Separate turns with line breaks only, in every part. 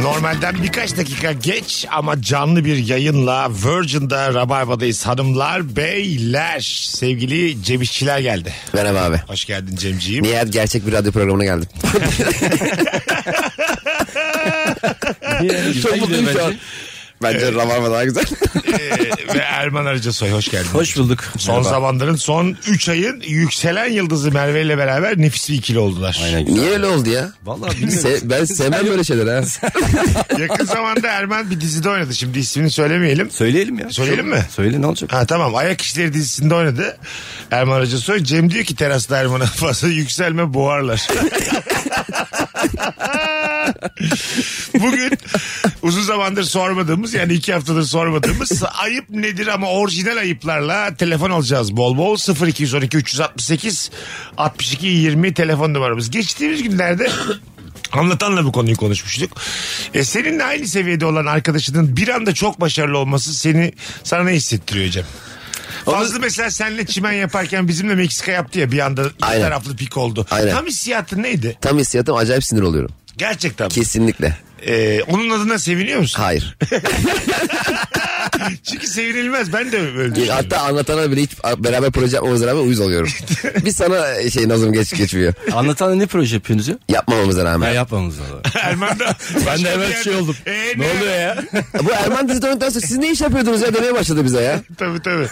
Normalden birkaç dakika geç ama canlı bir yayınla Virgin'da Rabarba'dayız hanımlar beyler. Sevgili Cem İşçiler geldi.
Merhaba abi.
Hoş geldin Cemciğim.
Nihayet gerçek bir radyo programına geldim. Çok mutluyum şu an. Bence Rabarba daha güzel.
Ee, Ve Erman Arıcasoy hoş geldin.
Hoş bulduk.
Son zamanların son 3 ayın yükselen yıldızı Merve ile beraber nefis bir ikili oldular.
Niye öyle oldu ya?
Vallahi
Se- ben sevmem böyle şeyler ha.
Yakın zamanda Erman bir dizide oynadı. Şimdi ismini söylemeyelim.
Söyleyelim ya.
Söyleyelim mi?
Söyle ne olacak?
Ha tamam Ayak İşleri dizisinde oynadı. Erman Arıcasoy. Cem diyor ki terasta Erman'a fazla yükselme boğarlar. Bugün uzun zamandır sormadığımız yani iki haftadır sormadığımız ayıp nedir ama orijinal ayıplarla telefon alacağız bol bol 0212 368 62 20 telefon numaramız. Geçtiğimiz günlerde Anlatanla bu konuyu konuşmuştuk. E, seninle aynı seviyede olan arkadaşının bir anda çok başarılı olması seni sana ne hissettiriyor Cem? Fazlı mesela senle çimen yaparken bizimle Meksika yaptı ya bir anda iki
Aynen.
taraflı pik oldu.
Aynen.
Tam hissiyatın neydi?
Tam hissiyatım acayip sinir oluyorum.
Gerçekten.
Kesinlikle.
E, onun adına seviniyor musun?
Hayır.
Çünkü sevinilmez. Ben de öyle
Yani
düşünüyorum.
Hatta anlatana bile hiç beraber proje yapmamıza rağmen uyuz oluyorum. bir sana şey Nazım geç geçmiyor.
Anlatan ne proje yapıyorsunuz ya?
Yapmamamıza
Ben
rağmen.
yapmamız lazım.
Erman da.
ben de
bir
hemen
yer-
şey oldum.
Ee,
ne oluyor ya?
Bu Erman dizi döndükten sonra siz ne iş yapıyordunuz ya demeye başladı bize ya.
Tabii tabii.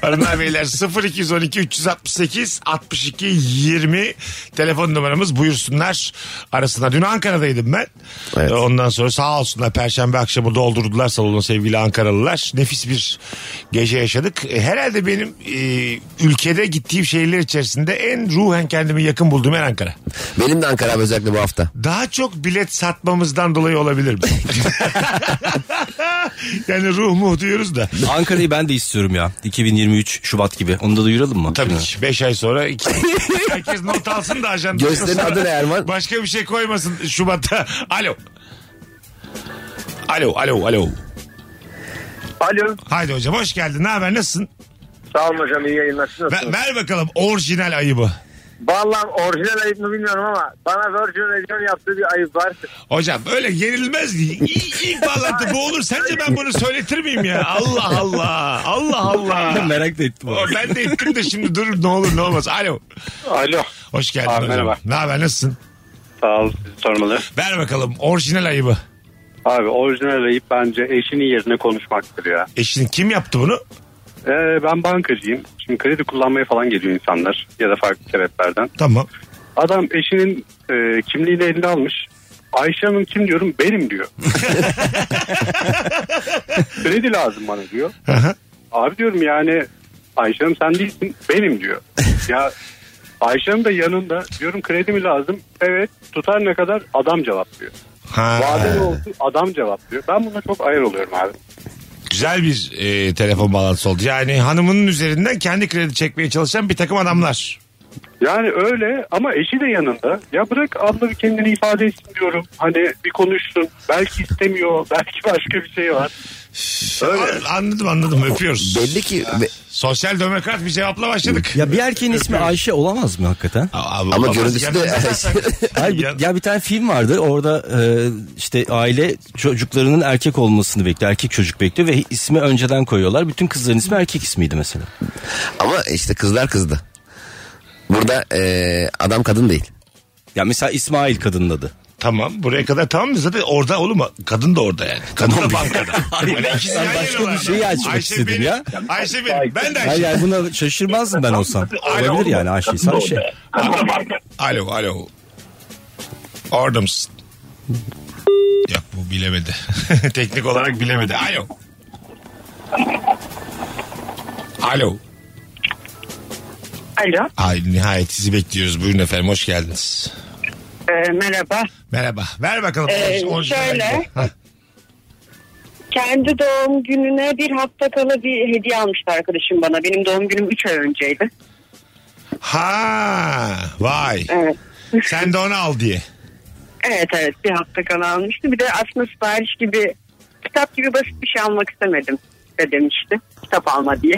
Hanımlar beyler 0212 368 62 20 telefon numaramız buyursunlar arasına. Dün Ankara'daydım ben.
Evet.
Ee, Ondan sonra sağ olsunlar perşembe akşamı doldurdular salonu sevgili Ankaralılar. Nefis bir gece yaşadık. E, Herhalde benim e, ülkede gittiğim şehirler içerisinde en ruhen kendimi yakın bulduğum en Ankara.
Benim de Ankara abi özellikle bu hafta.
daha çok bilet satmamızdan dolayı olabilir mi? yani ruh mu diyoruz da.
Ankara'yı ben de istiyorum ya. 2023 Şubat gibi. Onu da duyuralım mı?
Tabii
Değil mi?
ki 5 ay sonra iki- herkes not alsın da ajanda.
Gösterinin adı ne Erman?
Başka bir şey koymasın Şubat'ta. Alo. Alo, alo, alo.
Alo.
Haydi hocam hoş geldin. Ne haber? Nasılsın?
Sağ olun hocam iyi yayınlar. Siz
Ver,
Nasılsınız?
ver bakalım orijinal ayıbı.
Vallahi orijinal ayıp mı bilmiyorum ama bana Virgin Radio yaptığı bir ayıp var.
Hocam öyle yenilmez diye. İlk, ilk bağlantı bu olur. Sence ben bunu söyletir miyim ya? Allah Allah. Allah Allah.
Merak da ettim.
O, Ben de ettim de şimdi dur ne olur ne olmaz. Alo.
Alo.
Hoş geldin
Abi,
hocam.
merhaba.
Ne haber nasılsın?
Sağ ol sizi sormalı.
Ver bakalım orijinal ayıbı.
Abi orijinal ayıp bence eşinin yerine konuşmaktır ya.
Eşin kim yaptı bunu?
Ee, ben bankacıyım. Şimdi kredi kullanmaya falan geliyor insanlar ya da farklı sebeplerden.
Tamam.
Adam eşinin e, kimliğini eline almış. Ayşe Hanım kim diyorum benim diyor. kredi lazım bana diyor.
Aha.
Abi diyorum yani Ayşe Hanım sen değilsin benim diyor. ya Ayşe Hanım da yanında diyorum kredi mi lazım? Evet tutar ne kadar adam cevaplıyor.
Ha,
Vade olsun adam cevaplıyor. Ben buna çok ayar oluyorum abi.
güzel bir e, telefon bağlantısı oldu. Yani hanımının üzerinden kendi kredi çekmeye çalışan bir takım adamlar.
Yani öyle ama eşi de yanında. Ya bırak abla bir kendini ifade etsin diyorum. Hani bir konuşsun. Belki istemiyor. Belki başka bir şey var.
An- anladım anladım öpüyoruz.
Belli ki be-
Sosyal demokrat bir cevapla başladık.
Ya bir erkeğin ismi Ayşe şey olamaz mı hakikaten?
ama görüntüsü de
Hayır, bir- ya bir tane film vardı orada e, işte aile çocuklarının erkek olmasını bekliyor. Erkek çocuk bekliyor ve ismi önceden koyuyorlar. Bütün kızların ismi erkek ismiydi mesela.
ama işte kızlar kızdı. Burada eee, adam kadın değil.
Ya mesela İsmail kadının adı.
Tamam buraya kadar tamam mı? Zaten orada oğlum kadın da orada yani. Kadın da bankada. Hani ikisi
ben
yan
başka
yana
bir
var.
şeyi açmak
Ayşe
istedim
benim,
ya.
Ayşe benim. Ben de
Hayır
Ayşe.
yani buna şaşırmazdım ben olsam.
Aynen
Olabilir
oğlum.
yani Ayşe şey. Ayşe.
Alo alo. Orada mısın? Yok bu bilemedi. Teknik olarak bilemedi. Alo. Alo.
Alo.
Ay, nihayet sizi bekliyoruz. Buyurun efendim hoş geldiniz.
Ee, merhaba.
Merhaba. Ver bakalım.
Ee,
orij- orijinal
şöyle.
ayıbı. Hah.
Kendi doğum gününe bir hafta kala bir hediye almıştı arkadaşım bana. Benim doğum günüm 3 ay önceydi.
Ha vay.
Evet.
Sen de onu al diye.
Evet evet bir hafta kala almıştı. Bir de aslında sipariş gibi kitap gibi basit bir şey almak istemedim de demişti. Kitap alma diye.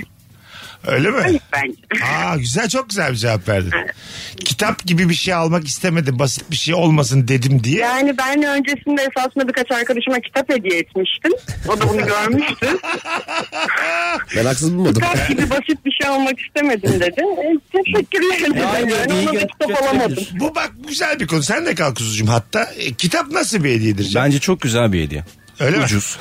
Öyle mi?
Ayıp bence.
Aa güzel çok güzel bir cevap verdin. Kitap gibi bir şey almak istemedim. Basit bir şey olmasın dedim diye.
Yani ben öncesinde esasında birkaç arkadaşıma kitap hediye etmiştim. O da bunu görmüştü.
Ben haksız bulmadım.
kitap gibi basit bir şey almak istemedim dedi. E, teşekkürler dedi.
Aynen,
Yani
iyi
ona da
gö-
kitap
götürebilir.
alamadım.
Bu bak güzel bir konu. Sen de kalk kuzucuğum hatta. E, kitap nasıl bir hediyedir? canım?
Bence çok güzel bir hediye.
Öyle mi?
Ucuz.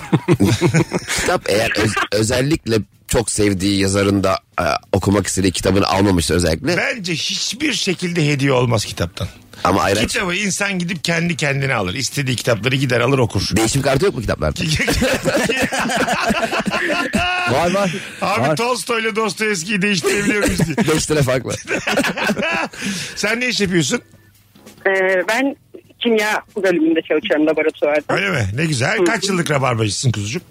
Kitap eğer öz- özellikle çok sevdiği yazarın da e, okumak istediği kitabını almamışsa özellikle
Bence hiçbir şekilde hediye olmaz kitaptan.
ama ayran
Kitabı insan gidip kendi kendine alır. İstediği kitapları gider alır okur.
değişim kartı yok mu kitaplarda?
Var var.
Abi
Var.
Tolstoy'la Dostoyevski'yi değiştirebiliyor muyuz diye.
5 lira farklı.
Sen ne iş yapıyorsun?
E, ben kimya bölümünde çalışıyorum laboratuvarda.
Öyle mi? Ne güzel. Kaç yıllık rabarbacısın kuzucuğum?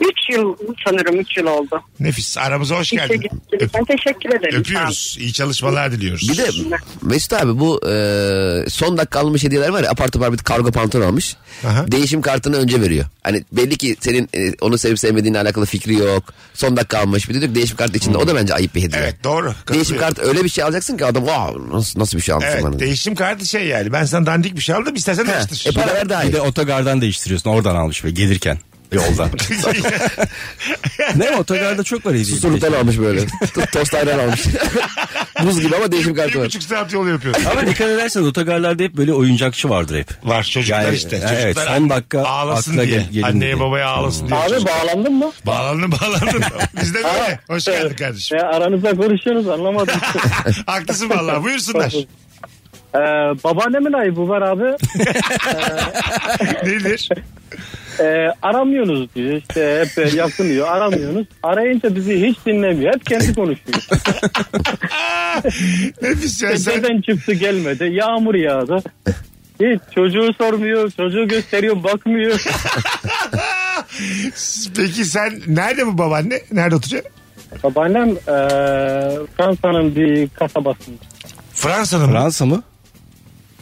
3 yıl sanırım 3 yıl oldu.
Nefis. Aramıza hoş
İşe
geldin.
gittim. Ben teşekkür ederim.
Öpüyoruz. İyi çalışmalar diliyoruz.
Bir de Mesut abi bu e, son dakika alınmış hediyeler var ya apar topar bir kargo pantolon almış.
Aha.
Değişim kartını önce veriyor. Hani belli ki senin e, onu sevip sevmediğinle alakalı fikri yok. Son dakika almış bir de diyor ki değişim kartı içinde o da bence ayıp bir hediye.
Evet doğru.
Değişim
Katılıyorum.
kartı öyle bir şey alacaksın ki adam "Vay, nasıl, nasıl bir şey almışsın
Evet
bana.
değişim kartı şey yani ben sana dandik bir şey aldım istersen
Ha,
değiştir.
e para ver daha
Bir
iyi.
de otogardan değiştiriyorsun. Oradan almış ve gelirken. Yoldan. ne otogarda çok var şey. hediye.
Susurluktan almış böyle. To- Tost ayran almış. Buz gibi ama değişim
Bir
kartı var.
buçuk saat yol yapıyorum.
Ama dikkat ederseniz otogarlarda hep böyle oyuncakçı vardır hep.
Var çocuklar
Yani,
işte.
e,
Çocuklar
evet, son dakika
ağlasın
akla
diye.
gel- gelin
Anneye
diye.
babaya ağlasın diye.
Abi
Çocuk-
bağlandın mı?
Bağlandın bağlandın. Biz de böyle.
Aa,
Hoş
evet.
geldin kardeşim.
Ya aranızda konuşuyorsunuz anlamadım.
Haklısın vallahi buyursunlar.
ee, babaannemin ayıbı var abi.
Nedir?
Ee, aramıyorsunuz diyor. İşte hep e, yakın diyor. Aramıyorsunuz. Arayınca bizi hiç dinlemiyor. Hep kendi konuşuyor.
Nefis ya sen.
Neden çıktı gelmedi. Yağmur yağdı. Hiç çocuğu sormuyor. Çocuğu gösteriyor bakmıyor.
Peki sen nerede bu babaanne? Nerede oturuyor?
Babaannem e, Fransa'nın bir kasabasında.
Fransa'da mı? E,
Fransa mı?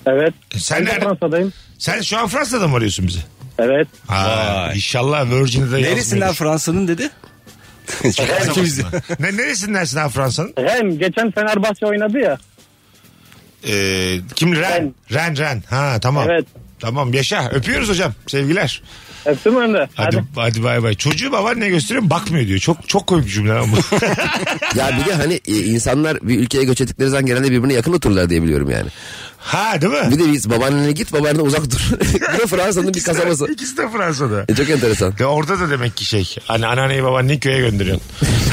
Evet.
Sen
ben de
nerede-
Fransa'dayım.
Sen şu an Fransa'da mı arıyorsun bizi?
Evet.
Ha,
Vay.
inşallah Virgin'de
Neresinden
yazmıyordur.
Fransa'nın dedi?
Fransa'da mı? ne, neresindensin abi Fransa'nın?
Hem geçen Fenerbahçe oynadı ya.
Ee, kim? Ren.
Ren.
Ren Ren. Ha tamam.
Evet.
Tamam yaşa. Öpüyoruz hocam. Sevgiler.
Hepsi mi önde?
Hadi hadi, bay bay. Çocuğu babaanne gösteriyorum bakmıyor diyor. Çok çok komik bir cümle lan bu.
Ya bir de hani e, insanlar bir ülkeye göç ettikleri zaman genelde birbirine yakın otururlar diye biliyorum yani.
ha değil mi?
Bir de biz babaannene git babaannene uzak dur. bir de Fransa'nın bir kasabası.
İkisi de Fransa'da.
E, Çok enteresan.
Ve orada da demek ki şey. Hani anneanneyi babaanneyi köye gönderiyorsun.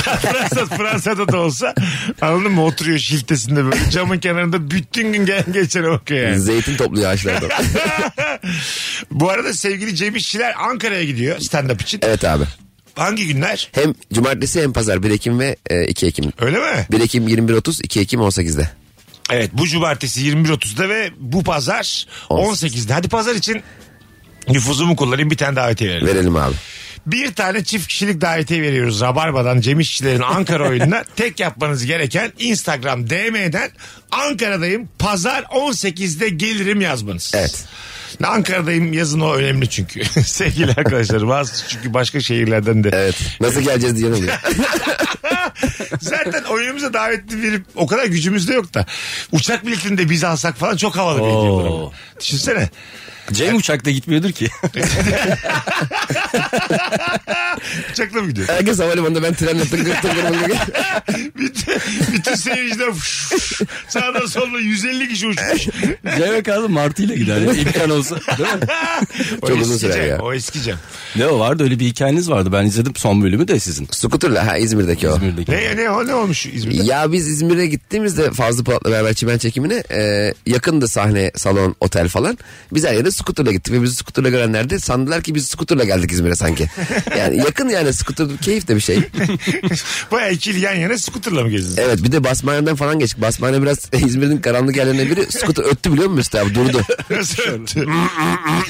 Fransa, Fransa'da da olsa anladın mı oturuyor şiltesinde böyle camın kenarında bütün gün gelen geçene bakıyor yani.
Zeytin topluyor ağaçlardan.
Bu arada sevgili Cem İşçiler Ankara'ya gidiyor stand-up için.
evet abi.
Hangi günler?
Hem cumartesi hem pazar 1 Ekim ve e, 2 Ekim.
Öyle mi?
1 Ekim 21.30 2 Ekim 18'de.
Evet bu cumartesi 21.30'da ve bu pazar 18'de. Hadi pazar için nüfuzumu kullanayım bir tane davetiye verelim.
Verelim abi.
Bir tane çift kişilik davetiye veriyoruz Rabarba'dan Cem İşçilerin Ankara oyununa. Tek yapmanız gereken Instagram DM'den Ankara'dayım pazar 18'de gelirim yazmanız.
Evet.
Ankara'dayım yazın o önemli çünkü. Sevgili arkadaşlar bazı çünkü başka şehirlerden de.
Evet. Nasıl geleceğiz diye oluyor.
Zaten oyunumuza davetli verip o kadar gücümüz de yok da. Uçak biletini de biz alsak falan çok havalı bir hediye olur ama.
Oo.
Düşünsene.
Cem uçakta gitmiyordur ki.
Uçakla mı gidiyor?
Herkes havalimanında ben trenle tıngır tıngır tıngır.
bütün, bütün seyirciler sağdan soldan 150 kişi uçmuş.
Cem'e kaldı martıyla gider. ya, imkan olsa. Değil mi?
O
Çok uzun
eski
sürer
Cem,
ya.
O eskicem.
Ne o vardı öyle bir hikayeniz vardı. Ben izledim son bölümü de sizin.
Skuterla ha İzmir'deki o.
İzmir'deki.
Ne, ne, o ne olmuş İzmir'de?
Ya biz İzmir'e gittiğimizde Fazlı Polat'la beraber çimen çekimine e, yakındı sahne, salon, otel falan. Biz her yere skuterla gittik ve bizi skuterla görenler de sandılar ki biz skuterla geldik İzmir'e sanki. Yani yakın yani skuter keyif de bir şey.
Bayağı ikili yan yana skuterla mı gezdiniz?
Evet bir de Basmane'den falan geçtik. Basmane biraz İzmir'in karanlık yerlerinden biri skuter öttü biliyor musun Mesut abi durdu. Hmm.
Nasıl öptü?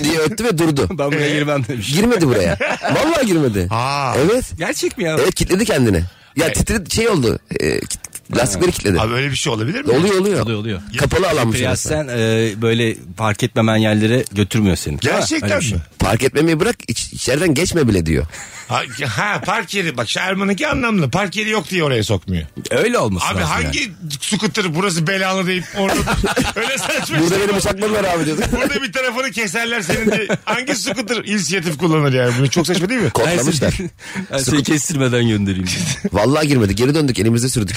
diye öttü ve durdu. Ee,
Ben buraya girmem demiş.
Girmedi buraya. Vallahi girmedi.
Ee? Aa.
Evet.
Gerçek mi ya?
Evet kilitledi kendini. Ya titredi şey oldu. e, kit- Lastikleri kilitledi.
Abi öyle bir şey olabilir mi?
Oluyor oluyor.
Oluyor, oluyor.
Kapalı alanmış
Prens
orası.
sen e, böyle park etmemen yerlere götürmüyor seni.
Gerçekten
Öyle bir
mi?
şey.
Park etmemeyi bırak iç- içeriden geçme bile diyor.
Ha, ha park yeri bak Şerman'ınki anlamlı. Park yeri yok diye oraya sokmuyor.
Öyle olması
Abi
lazım
hangi
yani.
scooter burası belalı deyip orada öyle saçma
Burada
şey
beni
var.
bıçakladılar abi diyorduk.
Burada bir tarafını keserler senin de hangi scooter inisiyatif kullanır yani bunu çok saçma değil mi?
Kodlamışlar.
şey
Ben seni kestirmeden göndereyim.
Vallahi girmedi. Geri döndük elimizde sürdük.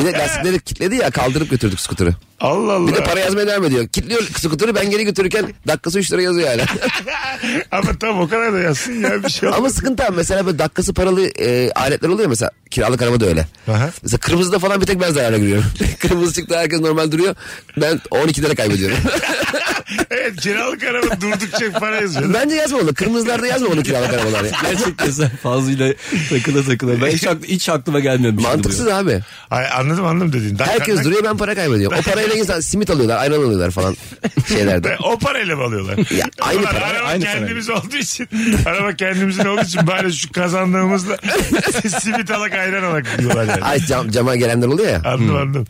bir de lastikleri kilitledi ya kaldırıp götürdük skuturu.
Allah Allah.
Bir de para yazmaya devam ediyor. Kilitliyor skuturu ben geri götürürken dakikası 3 lira yazıyor hala.
Ama tam o kadar da yazsın ya bir şey
Ama
olmaz.
sıkıntı abi mesela böyle dakikası paralı e, aletler oluyor mesela kiralık araba da öyle.
Aha.
Mesela kırmızıda falan bir tek ben zarara giriyorum. Kırmızı çıktı herkes normal duruyor. Ben 12 lira kaybediyorum.
evet kiralık araba durdukça para yazıyor.
Bence yazmamalı. Kırmızılarda yazmamalı kiralık arabalar. ya.
Gerçekten sen fazlıyla takıla takıla. Ben hiç, aklı- hiç aklıma şey gelmemiş.
Mantıksız abi.
Ay, anladım anladım dediğin. Dak-
Herkes
dak-
duruyor ben para kaybediyorum. O parayla insan simit alıyorlar, ayran alıyorlar falan şeylerde.
O parayla mı alıyorlar?
Ya, aynı
Ulan
para,
Araba
aynı
kendimiz olduğu için. Araba kendimizin olduğu için bari şu kazandığımızla simit alak ayran alak diyorlar yani.
Ay cam, cama gelenler oluyor ya.
Anladım anladım.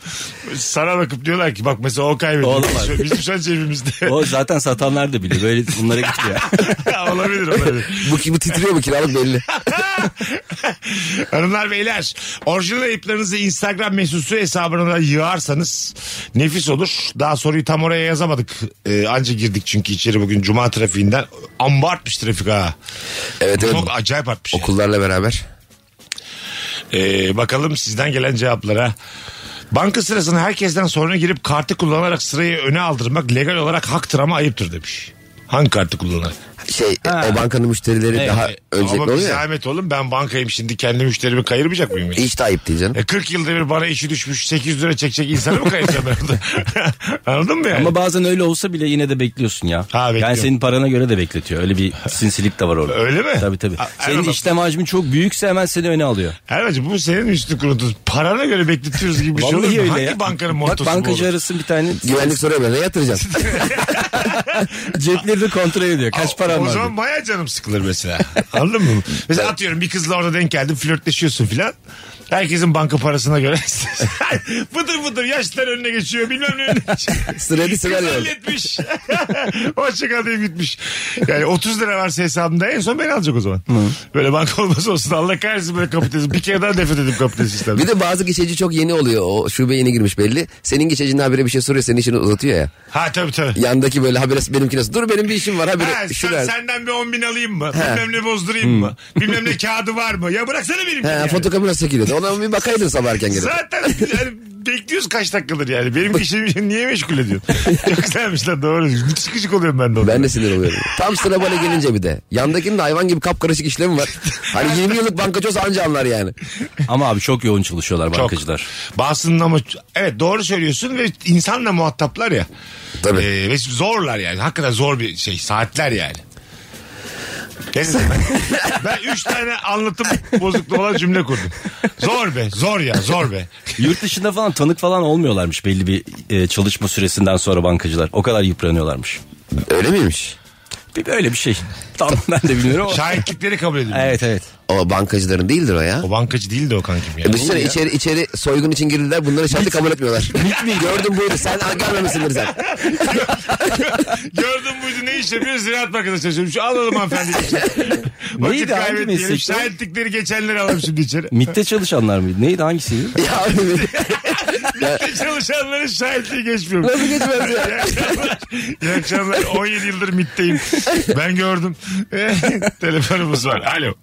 Sana bakıp diyorlar ki bak mesela o kaybetti.
Oğlum
Bizim
bak.
şu- Bizim şu an cebimizde.
O zaten satanlar da biliyor. Böyle bunlara gidiyor.
olabilir olabilir.
Bu, bu titriyor bu kiralık belli.
Hanımlar beyler orijinal ayıplarınızı Instagram mesutu hesabına da yığarsanız nefis olur. Daha soruyu tam oraya yazamadık. Ee, anca girdik çünkü içeri bugün cuma trafiğinden. Amba artmış trafik ha.
Evet evet.
Çok acayip artmış.
Okullarla beraber.
Ee, bakalım sizden gelen cevaplara. Banka sırasına herkesten sonra girip kartı kullanarak sırayı öne aldırmak legal olarak haktır ama ayıptır demiş. Hangi kartı kullanarak?
Şey o bankanın müşterileri daha
E,
öncelikli
Ama bir
oluyor ya.
zahmet oğlum ben bankayım şimdi kendi müşterimi kayırmayacak mıyım? ya?
Hiç de ayıp değil canım.
E 40 yılda bir bana işi düşmüş 800 lira çekecek insanı mı kayıracağım ben orada? Anladın mı yani?
Ama bazen öyle olsa bile yine de bekliyorsun ya.
Ha, bekliyorum.
yani senin parana göre de bekletiyor. Öyle bir sinsilik de var orada.
Öyle mi?
Tabii tabii.
A-
senin
Erman-
işlem hacmin çok büyükse hemen seni öne alıyor.
Erman'cığım bu senin üstü kurutun. Parana göre bekletiyoruz gibi bir şey olur mu?
Vallahi öyle
Hangi
ya.
bankanın mottosu
Bak bankacı
bu olur?
arasın bir tane
Güvenlik soruyor ben ne yatıracaksın?
cepleri de kontrol ediyor. Kaç paran
O
var?
zaman baya canım sıkılır mesela. Anladın mı? Mesela atıyorum bir kızla orada denk geldim flörtleşiyorsun filan. Herkesin banka parasına göre. fıdır fıdır yaşlar önüne geçiyor bilmem ne önüne geçiyor.
Sıraydı sırayla.
Kız halletmiş. Hoşçakal deyip gitmiş. Yani 30 lira varsa hesabımda en son beni alacak o zaman. Böyle banka olmasa olsun Allah kahretsin böyle kapitalizm. Bir kere daha nefret edip kapitalist sistemden.
Bir de bazı geçici çok yeni oluyor. O şube yeni girmiş belli. Senin geçicinin habire bir şey soruyor senin işini uzatıyor ya.
Ha tabii tabii.
Yandaki böyle habire benimki nasıl? Dur benim bir işim var habire.
Ha,
şu
sen,
ver.
senden bir 10 bin alayım mı? Bilmem ne bozdurayım mı? Bilmem ne kağıdı var mı? Ya bıraksana benimkini.
He,
yani.
fotokopi nasıl çekiliyordu? Ona bir bakaydın sabah erken gelip.
Zaten yani bekliyoruz kaç dakikadır yani. Benim işimi niye meşgul ediyorsun? Çok güzelmiş lan doğru. Gıcık gıcık oluyorum ben de onlara.
Ben de sinir oluyorum. Tam sıra bana gelince bir de. Yandakinin de hayvan gibi kapkarışık işlemi var. Hani 20 yıllık bankacı olsa anca anlar yani.
Ama abi çok yoğun çalışıyorlar
Çok.
bankacılar.
Bazısının ama evet doğru söylüyorsun ve insanla muhataplar ya.
Tabii.
Ee, ve zorlar yani. Hakikaten zor bir şey. Saatler yani. Neyse ben, ben üç tane anlatım bozukluğu olan cümle kurdum. Zor be zor ya zor be.
Yurt dışında falan tanık falan olmuyorlarmış belli bir e, çalışma süresinden sonra bankacılar. O kadar yıpranıyorlarmış.
Öyle miymiş?
Bir böyle bir şey. Tam ben de bilmiyorum ama.
Şahitlikleri kabul edilmiyor.
evet evet.
O bankacıların değildir o ya.
O bankacı değil de o kankim ya.
E düşünsene içeri, içeri soygun için girdiler bunları şartı kabul etmiyorlar. Gördüm buydu sen ha, görmemişsindir sen.
Gördüm buydu ne iş yapıyor? Ziraat Bankası'na çalışıyorum. Şu alalım hanımefendi. şey. Vakit
Neydi, hangi
kaybetmeyelim.
meslekte?
Şahitlikleri geçenleri alalım şimdi içeri.
MIT'te çalışanlar mıydı? Neydi hangisiydi?
Ya abi,
Çalışanların şahitliği geçmiyor.
nasıl geçmez ya?
İyi akşamlar. İyi akşamlar. 17 yıldır MIT'teyim. Ben gördüm. Telefonumuz var. Alo.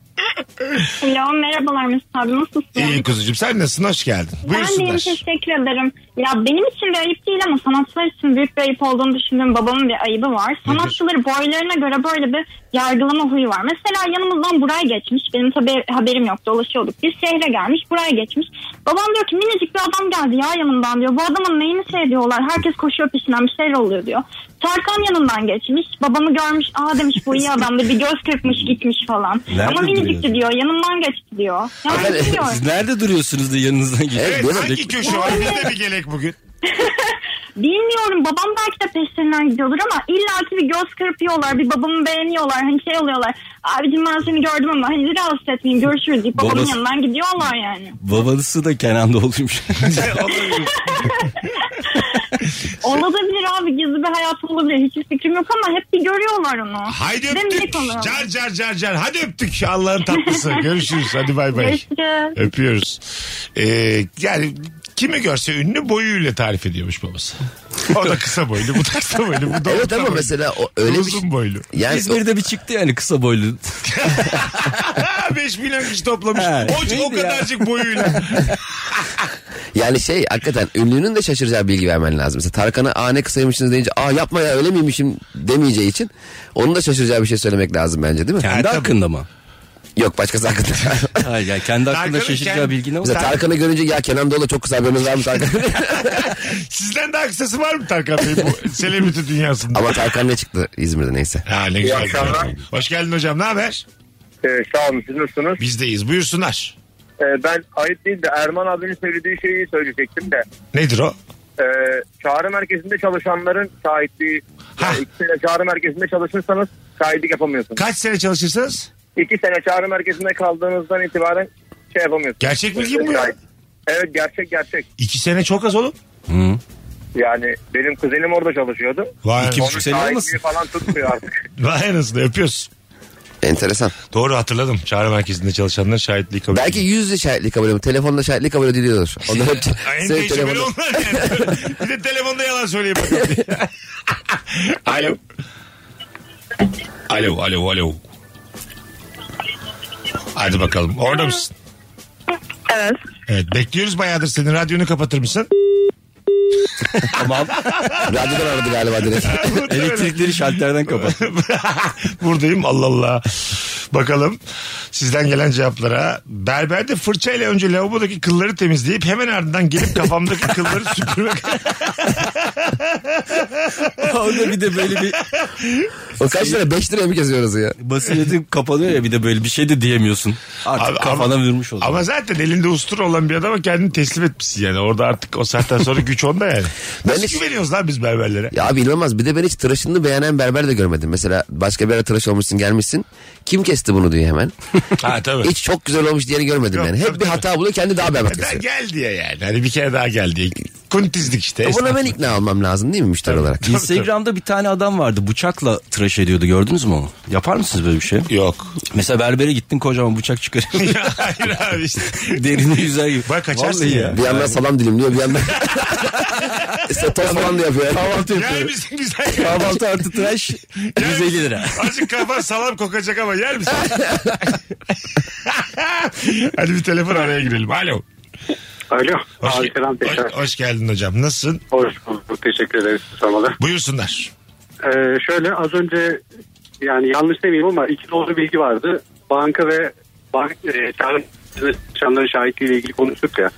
Alo merhabalar Mesut abi nasılsın?
İyi kuzucuğum sen nasılsın? Hoş geldin.
ben de iyiyim,
Buyursunlar.
teşekkür ederim. Ya benim için bir ayıp değil ama sanatçılar için büyük bir ayıp olduğunu düşündüğüm babamın bir ayıbı var. Sanatçıları boylarına göre böyle bir yargılama huyu var. Mesela yanımızdan buraya geçmiş. Benim tabii haberim yok dolaşıyorduk. Bir şehre gelmiş buraya geçmiş. Babam diyor ki minicik bir adam geldi ya yanımdan diyor. Bu adamın neyini seviyorlar? Herkes koşuyor peşinden bir şeyler oluyor diyor. Tarkan yanından geçmiş. Babamı görmüş. Aa demiş bu iyi adamdı. Bir göz kırpmış gitmiş falan.
Nerede
ama minicikti
duruyor?
diyor. Yanımdan geçti diyor. Yani
Abi,
bilmiyorum.
Siz nerede duruyorsunuz da yanınızdan geçiyor?
Evet,
Evet,
böyle-
hangi köşe var? Bizde bir gelek bugün.
Bilmiyorum babam belki de peşlerinden gidiyordur ama illaki bir göz kırpıyorlar. Bir babamı beğeniyorlar. Hani şey oluyorlar. Abicim ben seni gördüm ama hani rahatsız etmeyeyim görüşürüz deyip babamın
Babası-
yanından gidiyorlar yani.
Babası da Kenan Doğulu'ymuş.
Olabilir abi gizli bir hayat olabilir. Hiçbir fikrim yok ama hep bir görüyorlar onu.
Haydi
Bir de
öptük.
millet oluyor.
Car car car car. Hadi öptük. Allah'ın tatlısı. Görüşürüz. Hadi bay bay.
Görüşürüz.
Öpüyoruz. Ee, yani kimi görse ünlü boyuyla tarif ediyormuş babası. O da kısa boylu, bu da kısa boylu, bu da
Evet
orta
ama
boylu.
mesela o öyle bir
uzun boylu.
Yani
İzmir'de bir çıktı yani kısa boylu.
Ha 5 milyon kişi toplamış.
Ha,
O, o
neydi ya?
kadarcık boyuyla.
Yani şey hakikaten ünlünün de şaşıracağı bilgi vermen lazım. Mesela Tarkan'a aa ne kısaymışsınız deyince aa yapma ya öyle miymişim demeyeceği için onun da şaşıracağı bir şey söylemek lazım bence değil mi?
Kendi
tabii.
hakkında mı?
Yok başkası hakkında.
Hayır yani kendi hakkında
Tarkan'ın
şaşıracağı
kendi-
bilgi ne var?
Mesela Tarkan'ı görünce ya Kenan Doğulu çok güzel bir ömür vermiş Tarkan.
Sizden daha kısası var mı Tarkan Bey bu selebriti dünyasında?
Ama Tarkan ne çıktı İzmir'de neyse.
Ha, ne güzel. şey.
akşamlar. Ee,
Hoş geldin hocam. Ne haber?
sağ olun siz nasılsınız?
Bizdeyiz. Buyursunlar.
Ee, ben ayıp değil de Erman abinin söylediği şeyi şey söyleyecektim de.
Nedir o?
Ee, çağrı merkezinde çalışanların sahipliği.
Ha.
Yani iki sene çağrı merkezinde çalışırsanız sahiplik yapamıyorsunuz.
Kaç sene çalışırsanız?
İki sene çağrı merkezinde kaldığınızdan itibaren şey yapamıyorsunuz.
Gerçek bilgi mi bu ya?
Evet gerçek gerçek.
İki sene çok az oğlum.
Hı.
Yani benim kuzenim orada çalışıyordu.
Vay.
İki
anasını.
buçuk sene olmasın?
Sahipliği falan tutmuyor artık.
Vay anasını öpüyoruz.
Enteresan.
Doğru hatırladım. Çağrı merkezinde çalışanlar şahitliği kabul
Belki yüzle şahitlik kabul ediyor. Telefonla şahitlik kabul ediliyordur. Onlar hep
Ay, En
Senin
değişik biri
telefonun-
onlar şey yani. bir de telefonda yalan söyleyeyim bakalım diye. alo. Alo, alo, alo. Hadi bakalım. Orada mısın?
Evet.
Evet, bekliyoruz bayağıdır seni. Radyonu kapatır mısın?
Tamam.
Radyodan aradı galiba direkt.
Elektrikleri şalterden kapat.
Buradayım Allah Allah. Bakalım sizden gelen cevaplara. Berberde fırçayla önce lavabodaki kılları temizleyip hemen ardından gelip kafamdaki kılları süpürmek.
Onda bir de böyle bir
o kaç lira? 5 liraya mı geziyoruz ya?
basiretin kapanıyor ya bir de böyle bir şey de diyemiyorsun. Artık
Abi
kafana
ama-
vurmuş oluyor.
Ama zaten elinde ustura olan bir adama kendini teslim etmişsin yani. Orada artık o saatten sonra güç onda yani.
Ben
Nasıl
hiç-
güveniyoruz lan biz berberlere?
Ya abi inanılmaz. Bir de ben hiç tıraşını beğenen berber de görmedim. Mesela başka bir yere tıraş olmuşsun gelmişsin. Kim kesti bunu diyor hemen.
ha tabii.
Hiç çok güzel olmuş diyeni görmedim
Yok,
yani.
tabii,
Hep bir
tabii.
hata buluyor kendi daha berbat
Daha
kesiyor.
gel diye yani. Hani bir kere daha gel diye. Kuntizlik işte.
Buna ben ikna olmam lazım değil mi müşteri olarak?
Instagram'da bir tane adam vardı bıçakla tıraş ediyordu gördünüz mü onu? Yapar mısınız böyle bir şey?
Yok.
Mesela berbere gittin kocaman bıçak çıkarıyor.
Ya, Hayır abi işte.
Derini yüzer gibi.
Bak kaçarsın
Vallahi
ya.
Bir yandan salam dilimliyor bir yandan... işte toz falan da yapıyor.
Kahvaltı
Yer
yapıyor.
misin güzel ya?
Kahvaltı artı tıraş 150 lira.
Azıcık kafan salam kokacak ama yer misin? Hadi bir telefon araya girelim. Alo.
Alo.
Hoş,
Abi
ge-
selam
hoş,
tekrar.
hoş geldin hocam. Nasılsın?
Hoş bulduk. Teşekkür ederiz. Sormalı.
Buyursunlar.
Ee, şöyle az önce yani yanlış demeyeyim ama iki doğru bilgi vardı. Banka ve bank e, çağrı çalışanların şahitliğiyle ilgili konuştuk ya.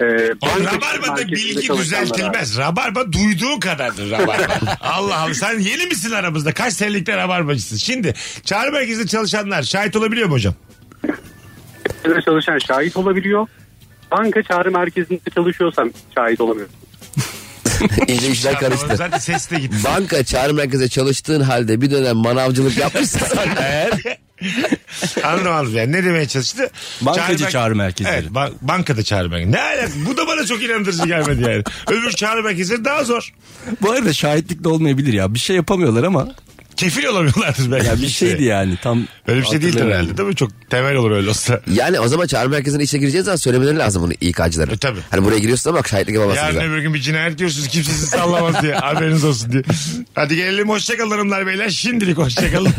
E,
O Rabarba'da bilgi düzeltilmez. Rabarba duyduğu kadardır Rabarba. Allah Allah sen yeni misin aramızda? Kaç senelikte Rabarbacısın? Şimdi çağrı merkezinde çalışanlar şahit olabiliyor mu hocam?
Banka çalışan şahit olabiliyor. Banka çağrı merkezinde çalışıyorsam şahit olamıyor.
İyice işler
Tamam,
karıştı.
Zaten ses de gitti.
Banka çağrı merkeze çalıştığın halde bir dönem manavcılık yapmışsan
Anladım anladım yani ne demeye çalıştı?
Bankacı çağrı merkezleri.
Evet ba- bankada çağrı merkezleri. Ne alakası? Bu da bana çok inandırıcı gelmedi yani. Öbür çağrı merkezleri daha zor.
Bu arada şahitlik de olmayabilir ya. Bir şey yapamıyorlar ama
Kefil olamıyorlardır belki.
ya bir
işte.
şeydi yani tam.
Öyle bir şey değildir
hatırlamıyorum.
herhalde değil mi? Çok temel olur öyle olsa.
yani o zaman çağrı merkezine işe gireceğiz zaman söylemeleri lazım bunu İK'cılara.
E, tabii.
Hani buraya giriyorsun ama bak şahitlik yapamazsınız.
Yarın
ha.
öbür gün bir cinayet görürsünüz kimse sizi sallamaz diye. Haberiniz olsun diye. Hadi gelelim hoşçakalın hanımlar beyler. Şimdilik hoşçakalın.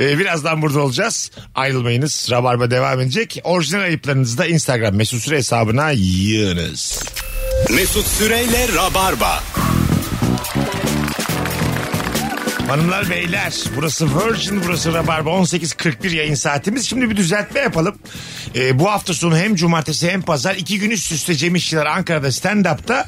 ee, birazdan burada olacağız. Ayrılmayınız. Rabarba devam edecek. Orijinal ayıplarınızı da Instagram mesut süre hesabına yığınız.
Mesut Süreyle Rabarba.
Hanımlar beyler burası Virgin burası Rabarba 18.41 yayın saatimiz. Şimdi bir düzeltme yapalım. E, bu hafta sonu hem cumartesi hem pazar iki gün üst üste Cem İşçiler Ankara'da stand-up'ta.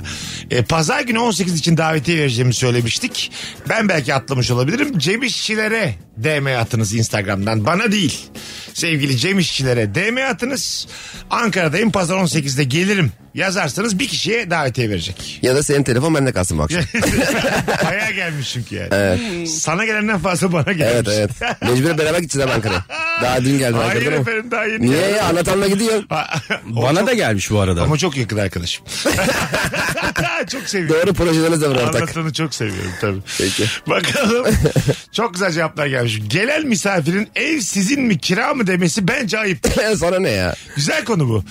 E, pazar günü 18 için davetiye vereceğimi söylemiştik. Ben belki atlamış olabilirim. Cem İşçilere DM atınız Instagram'dan. Bana değil. Sevgili Cem İşçilere DM atınız. Ankara'dayım pazar 18'de gelirim. Yazarsanız bir kişiye davetiye verecek.
Ya da senin telefon bende kalsın bu akşam.
Bayağı gelmiş çünkü yani. Sana gelenden fazla bana
evet
gelmiş.
evet. Mecburen beraber gideceğiz abi Ankara'ya. Daha dün geldim
Hayır
Ankara'dan ama.
efendim daha yeni.
Niye ya anlatanla gidiyor.
Bana da gelmiş bu arada.
Ama çok yakın arkadaşım. çok seviyorum.
Doğru projeleriniz de var ortak.
Anlatanı çok seviyorum tabii.
Peki.
Bakalım. Çok güzel cevaplar gelmiş. Gelen misafirin ev sizin mi kira mı demesi bence ayıp.
Sana ne ya?
Güzel konu bu.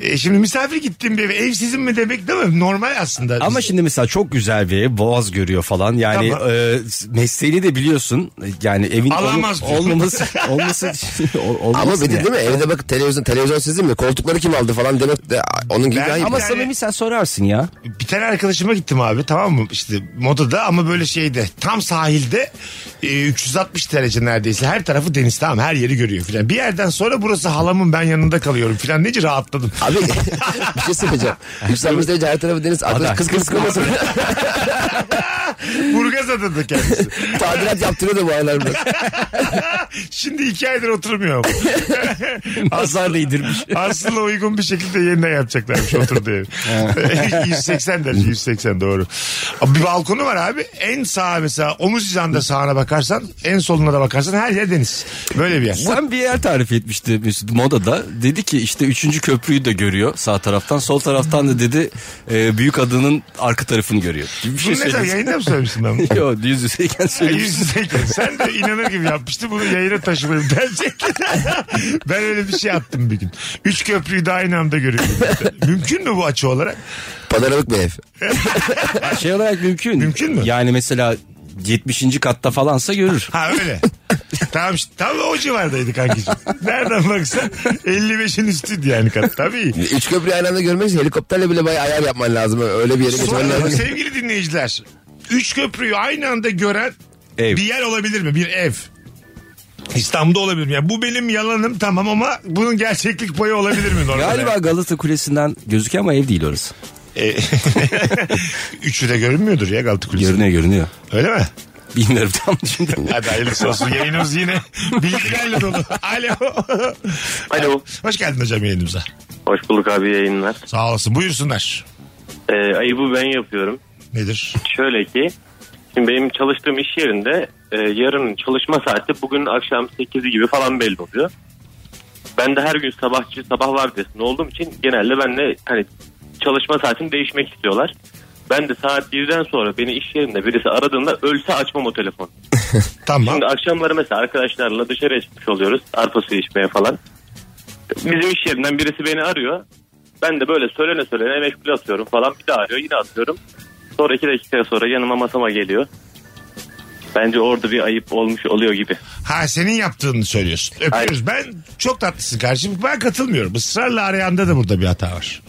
E, şimdi misafir gittiğim bir eve ev sizin mi demek değil mi? Normal aslında.
Ama şimdi mesela çok güzel bir ev, boğaz görüyor falan. Yani
Tamam.
e, mesleğini de biliyorsun. Yani evin
Alamaz
ol-
diyor.
olmaması olması olmaz.
Ama bir de değil mi? Evde bak televizyon televizyon sizin mi? Koltukları kim aldı falan demek de onun gibi
Ben-
ayıp.
Ama şey
Yani-
samimi sen sorarsın ya.
bir tane arkadaşıma gittim abi tamam mı işte modada ama böyle şeyde tam sahilde e, 360 derece neredeyse her tarafı deniz tamam her yeri görüyor filan. Bir yerden sonra burası halamın ben yanında kalıyorum filan deyince rahatladım.
Abi bir şey söyleyeceğim. Yükselmiş derece her tarafı deniz. Arkadaş kız kız kılmasın.
Burgaz adadı kendisi.
Tadilat yaptırıyor da bu aylar biraz.
Şimdi iki aydır oturmuyor ama.
Pazarda indirmiş.
Aslında uygun bir şekilde yeniden yapacaklarmış oturduğu evi. 180 derece 180 doğru. Abi Bir balkonu var abi. En sağa mesela omuz hizanda sağına bakarsan en soluna da bakarsan her yer deniz. Böyle bir yer.
Sen bir yer tarif etmişti Mesut modada. Dedi ki işte 3. köprüyü de görüyor sağ taraftan. Sol taraftan da dedi e, büyük adanın arka tarafını görüyor. Gibi bir şey
Bunu ne zaman
söyledi.
yayında mı söylemiştin ben bunu?
Yo yüz yüzeyken söylemiş.
Yüz yüzeyken. Sen de inanır gibi yapmıştın. Bunu yayına taşımayı bence. ben öyle bir şey attım bir gün. Üç köprüyü de aynı anda görüyorum. Mümkün mü bu açı olarak?
Panoramik bir ev.
Şey olarak mümkün.
Mümkün mü?
Yani mesela 70. katta falansa görür.
Ha öyle. tamam işte, tam o civardaydı kankicim. E Nereden baksan 55'in üstüydü yani kat. Tabii.
Üç köprüyü aynı anda görmek için helikopterle bile bayağı ayar yapman lazım. Öyle bir yere geçmen
Sonra şey-
lazım.
sevgili dinleyiciler. Üç köprüyü aynı anda gören
Ev.
bir yer olabilir mi? Bir ev. İstanbul'da olabilir mi? Yani bu benim yalanım tamam ama bunun gerçeklik payı olabilir mi? normal
Galiba Galata Kulesi'nden gözüküyor ama ev değil orası.
E, Üçü de görünmüyordur ya Galata Kulesi.
Görünüyor görünüyor.
Öyle mi?
Bilmiyorum tam şimdi.
Hadi hayırlısı olsun. Yayınımız yine bilgilerle dolu. Alo.
Alo.
Hoş geldin hocam yayınımıza.
Hoş bulduk abi yayınlar.
Sağ olasın. Buyursunlar.
Ee, ayıbı ben yapıyorum.
Nedir?
Şöyle ki şimdi benim çalıştığım iş yerinde e, yarın çalışma saati bugün akşam 8'i gibi falan belli oluyor. Ben de her gün sabahçı sabah vardiyasında olduğum için genelde benle hani çalışma saatini değişmek istiyorlar. Ben de saat 1'den sonra beni iş yerinde birisi aradığında ölse açmam o telefon.
Tamam.
Şimdi akşamları mesela arkadaşlarla dışarıya çıkmış oluyoruz. Arpa suyu içmeye falan. Bizim iş yerinden birisi beni arıyor. Ben de böyle söylene söylene meşgul atıyorum falan. Bir daha arıyor yine atıyorum. Sonra iki dakika sonra yanıma masama geliyor. Bence orada bir ayıp olmuş oluyor gibi.
Ha senin yaptığını söylüyorsun. Öpüyoruz. Ben çok tatlısın kardeşim. Ben katılmıyorum. Israrla arayanda da burada bir hata var.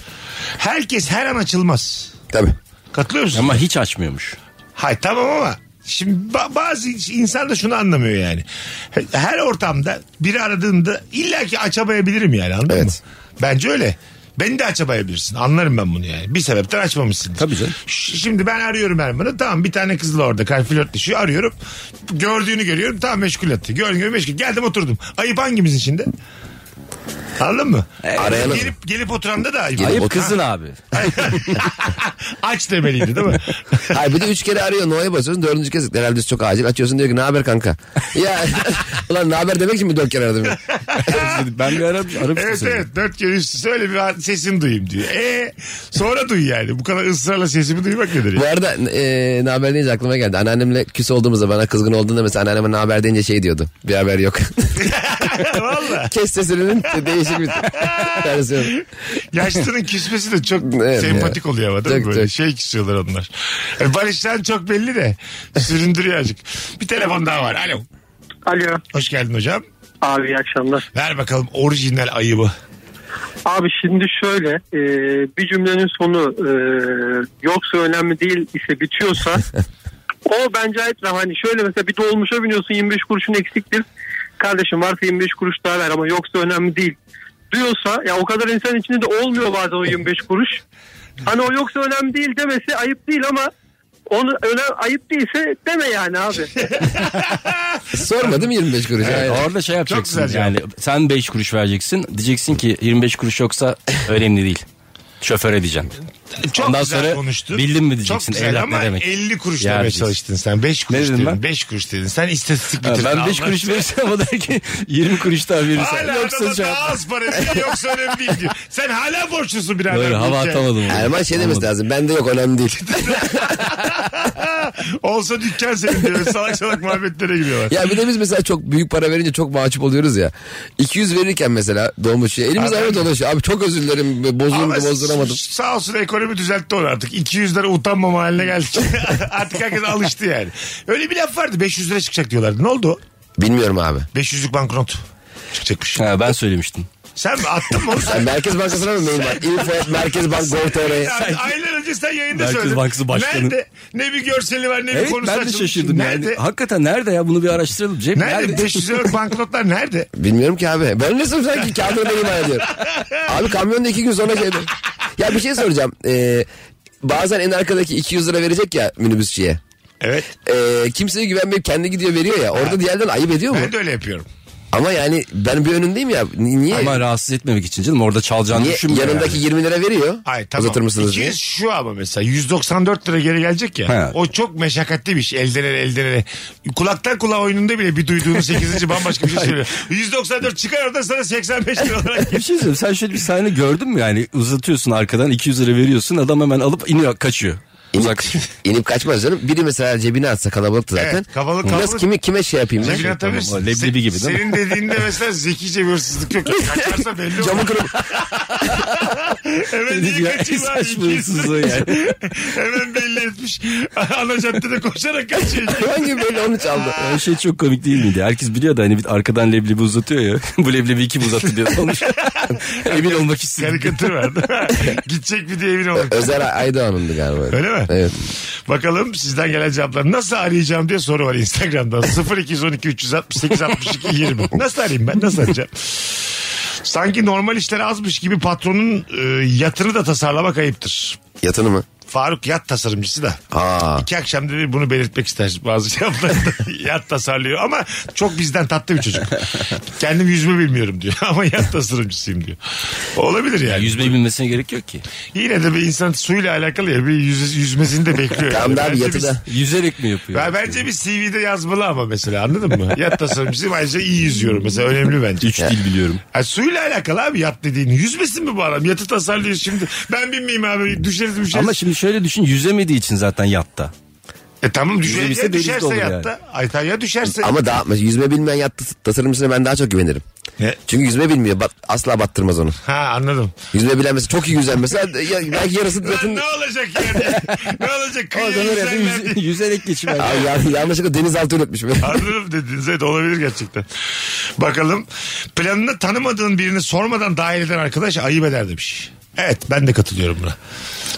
Herkes her an açılmaz.
Tabii.
Katılıyor musun?
Ama hiç açmıyormuş.
Hay tamam ama şimdi ba- bazı insan da şunu anlamıyor yani. Her ortamda biri aradığında illaki açamayabilirim yani anladın
Evet.
mı? Bence öyle. Beni de açamayabilirsin. Anlarım ben bunu yani. Bir sebepten açmamışsın.
Tabii canım.
Şimdi ben arıyorum Erman'ı. Tamam bir tane kızla orada kar flörtleşiyor. Arıyorum. Gördüğünü görüyorum. Tamam meşgul etti. Gördüğünü görüyorum meşgul. Geldim oturdum. Ayıp hangimizin içinde? Anladın mı?
Arayanın.
Gelip, gelip oturanda da ayıp.
Ayıp
o-
kızın abi.
Aç demeliydi değil mi?
Hayır bir de üç kere arıyor No'ya basıyorsun. Dördüncü kez herhalde çok acil. Açıyorsun diyor ki ne haber kanka? Ya ulan ne haber demek için mi dört kere aradım? ya?
ben bir Arap, Arap
Evet evet dört kere üst üste öyle bir an sesini duyayım diyor. E sonra duy yani. Bu kadar ısrarla sesimi duymak nedir?
Bu
Ya?
arada e, ne haber deyince aklıma geldi. Anneannemle küs olduğumuzda bana kızgın olduğunda mesela anneanneme ne haber deyince şey diyordu. Bir haber yok.
Valla.
Kes sesinin değişik bir versiyonu.
Yaşlının küsmesi de çok
Evet
sempatik
ya.
oluyor ama değil mi?
Çok,
Böyle
çok.
şey küsüyorlar onlar. E, Barış'tan çok belli de süründürüyor azıcık. Bir telefon daha var. Alo.
Alo.
Hoş geldin hocam.
Abi iyi akşamlar.
Ver bakalım orijinal ayıbı.
Abi şimdi şöyle e, bir cümlenin sonu e, yoksa önemli değil ise bitiyorsa o bence ait hani şöyle mesela bir dolmuşa biniyorsun 25 kuruşun eksiktir. Kardeşim varsa 25 kuruş daha ver ama yoksa önemli değil. duyuyorsa ya o kadar insan içinde de olmuyor bazen o 25 kuruş. Hani o yoksa önemli değil demesi ayıp değil ama onu önem ayıp değilse deme yani abi.
Sormadım 25 kuruş.
Evet,
Aynen.
orada şey yapacaksın
güzel
yani sen 5 kuruş vereceksin diyeceksin ki 25 kuruş yoksa önemli değil. Şoföre diyeceksin.
Çok
Ondan
güzel
sonra
konuştun.
bildin mi diyeceksin,
Çok güzel
evlat
ama
ne demek?
50 kuruş
Yar
demeye
diyeceksin.
çalıştın sen. 5 kuruş
dedim
dedin.
ben?
5 kuruş dedin. Sen istatistik
Ha,
bitirdin.
ben 5
Allah
kuruş
aşkına.
verirsem o der ki 20 kuruş daha verirsen.
Hala adama
şey
daha
yapma.
az para diyor. Yoksa önemli değil diyor. Sen hala borçlusun birader.
Doğru, hava
Ülke.
atamadım.
Erman şey demesi lazım. Bende yok önemli değil.
Olsa dükkan senin diyor. Salak salak muhabbetlere giriyorlar.
ya bir de biz mesela çok büyük para verince çok mahcup oluyoruz ya. 200 verirken mesela dolmuşçuya elimiz
Abi-
ayrı dolaşıyor. Abi çok özür dilerim
Ama
bozuldu bozduramadım.
s- Sağ olsun ekonomi düzeltti onu artık. 200 lira utanmama haline geldik. artık herkes alıştı yani. Öyle bir laf vardı 500 lira çıkacak diyorlardı. Ne oldu? o?
Bilmiyorum abi.
500'lük banknot çıkacakmış.
Ha, ben söylemiştim.
Sen mi attın mı onu sen?
Sen Merkez Bankası'na mı mail var? Info at merkezbank.gov.tr'ye.
Sen- Aylar önce sen yayında
Merkez
söyledin.
Bankası Başkanı.
Nerede? Ne bir görseli var ne bir
Evet
konusu
ben de
açılmış.
şaşırdım
nerede?
yani. Hakikaten nerede ya bunu bir araştıralım. Cem
Nerede? 500 liralık banknotlar nerede?
Bilmiyorum ki abi. Ben ne sanırım sanki kamyonda ima ediyorum. Abi kamyonda iki gün sonra şeydi. Ya bir şey soracağım. Ee, bazen en arkadaki 200 lira verecek ya minibüsçüye.
Evet.
Ee, kimseye güvenmeyip kendi gidiyor veriyor ya. Orada diğerden ayıp ediyor mu?
Ben de öyle yapıyorum.
Ama yani ben bir önündeyim ya. Ni- Niye?
Ama rahatsız etmemek için canım orada çalacağını
niye
düşünmüyor.
yanındaki 20 lira veriyor.
Ay tamam.
Uzatır mısınız diye.
200 şu ama mesela 194 lira geri gelecek ya.
Ha.
O çok meşakkatli bir şey. Elden ele elden ele. Kulaktan kulağa oyununda bile bir duyduğunuz 8. bambaşka bir şey söylüyor. 194 çıkar oradan sana 85 lira olarak
Bir şey söyleyeyim sen şöyle bir sahne gördün mü yani uzatıyorsun arkadan 200 lira veriyorsun adam hemen alıp iniyor kaçıyor. Uzak.
İnip kaçmaz canım. Biri mesela cebine atsa kalabalıktı zaten.
Evet, kalabalık,
Nasıl
kalabalık.
kimi, kime şey yapayım ben?
Cebine atabilirsin.
tamam, o leblebi gibi değil mi?
Senin dediğinde mesela zekice bir hırsızlık yok. Kaçarsa belli olur.
Camı kırıp
Hemen
Dedik
niye
ya,
kaçayım abi?
saçma hırsız o yani.
Hemen belli etmiş. Ana caddede koşarak kaçıyor.
hangi böyle onu çaldı.
Her şey çok komik değil miydi? Herkes biliyordu hani bir arkadan leblebi uzatıyor ya. Bu leblebi kim uzattı diye sormuş. Emin olmak istedim.
Karikatür var değil mi? Gidecek bir de evine olur.
Özer Aydoğan'ındı galiba.
Öyle mi?
Evet.
Bakalım sizden gelen cevaplar. Nasıl arayacağım diye soru var Instagram'dan. 0212 368 62 20. Nasıl arayayım ben? Nasıl arayacağım? Sanki normal işler azmış gibi patronun e, yatını da tasarlamak ayıptır.
Yatını mı?
Faruk yat tasarımcısı da.
Aa.
İki akşamda bir bunu belirtmek ister bazı cevaplarda. yat tasarlıyor ama çok bizden tatlı bir çocuk. Kendim yüzme bilmiyorum diyor ama yat tasarımcısıyım diyor. Olabilir yani.
Yüzmeyi bilmesine gerek yok ki.
Yine de bir insan suyla alakalı ya bir yüz, yüzmesini de bekliyor.
Tamam
yani.
da abi
Bence
yatı
biz-
da.
Yüzerek mi yapıyor?
ben bence bir CV'de yazmalı ama mesela anladın mı? Yat tasarımcısıyım ayrıca iyi yüzüyorum mesela önemli bence.
Üç dil biliyorum.
Ha, suyla alakalı abi yat dediğin. Yüzmesin mi bu adam? Yatı tasarlıyor şimdi. Ben bilmeyeyim abi düşeriz düşeriz.
Ama şimdi şöyle düşün yüzemediği için zaten yatta.
e tamam düşer,
yüzebilse
ya
denizde
düşerse
olur
yatta.
yani.
Ay tamam ya düşerse.
Ama daha yüzme bilmeyen yat tas- tasarımcısına ben daha çok güvenirim.
Ne?
Çünkü yüzme bilmiyor. Bat- asla battırmaz onu.
Ha anladım.
Yüzme bilen mesela çok iyi yüzen mesela ya- belki yarısı
Lan
yatın...
ne olacak yani? ne olacak? Kıyıya
Oradan oraya da
yüzerler
yüze-
diye.
yüzerek geçiver.
Ay, ya- yanlışlıkla denizaltı üretmiş.
Anladım dediniz. Evet olabilir gerçekten. Bakalım. Planını tanımadığın birini sormadan dahil eden arkadaş ayıp eder demiş. Evet ben de katılıyorum buna.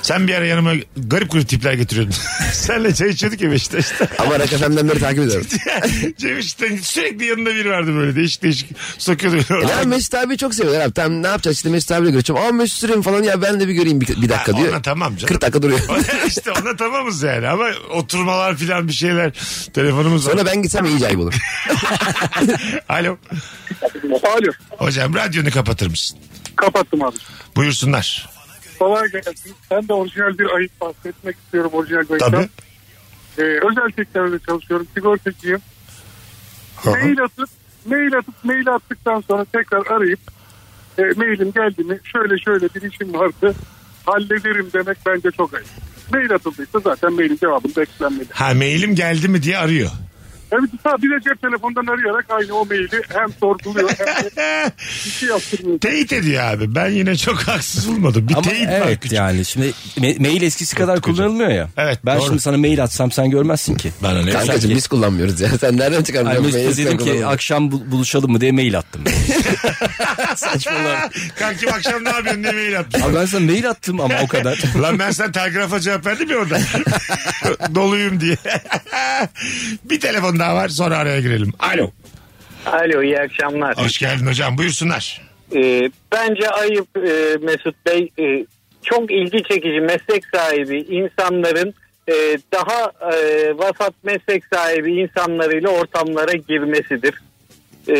Sen bir ara yanıma garip garip tipler getiriyordun. Senle çay içiyorduk ya Beşiktaş'ta.
Ama Rock FM'den beri takip ediyorum.
Cem işte sürekli yanında biri vardı böyle değişik değişik sokuyordu.
Ya E, Mesut abi çok seviyorlar abi. Tamam ne yapacağız işte Mesut abiyle görüşeceğim. Ama Mesut Süreyim falan ya ben de bir göreyim bir, bir dakika
Ha,
diyor.
ona tamam canım.
40 dakika duruyor.
işte ona tamamız yani ama oturmalar filan bir şeyler. Telefonumuz var.
Sonra ben gitsem iyice ayıp olur.
Alo.
Alo
Hocam radyonu kapatır mısın?
kapattım abi.
Buyursunlar.
Kolay gelsin. Ben de orijinal bir ayıp bahsetmek istiyorum orijinal bir ayıptan.
Tabii.
Ee, özel sektörde çalışıyorum. Sigortacıyım. Mail atıp mail atıp mail attıktan sonra tekrar arayıp e, mailim geldi mi şöyle şöyle bir işim vardı hallederim demek bence çok ayıp. Mail atıldıysa zaten mailin cevabını beklenmedi.
Ha mailim geldi mi diye arıyor.
Evet ta bir de cep telefonundan arayarak aynı o maili hem sorguluyor hem de bir şey yaptırmıyor.
Teyit ediyor abi. Ben yine çok haksız bulmadım. Bir
Ama
teyit var
evet
küçük.
yani şimdi me- mail eskisi kadar kullanılmıyor ya.
Evet,
Ben
doğru.
şimdi sana mail atsam sen görmezsin ki.
Bana ne?
Kankacığım biz kullanmıyoruz ya. Sen nereden
Ay,
çıkarmışsın?
Mesut'a dedim ki akşam bu- buluşalım mı diye mail attım. Saçmalar.
Kankim akşam ne yapıyorsun diye mail attım.
Abi ben sana mail attım ama o kadar.
Lan ben sana telgrafa cevap verdim ya orada. Doluyum diye. bir telefon daha var sonra araya girelim. Alo.
Alo iyi akşamlar.
Hoş geldin hocam buyursunlar.
Ee, bence ayıp e, Mesut Bey e, çok ilgi çekici meslek sahibi insanların e, daha e, vasat meslek sahibi insanlarıyla ortamlara girmesidir. Ee,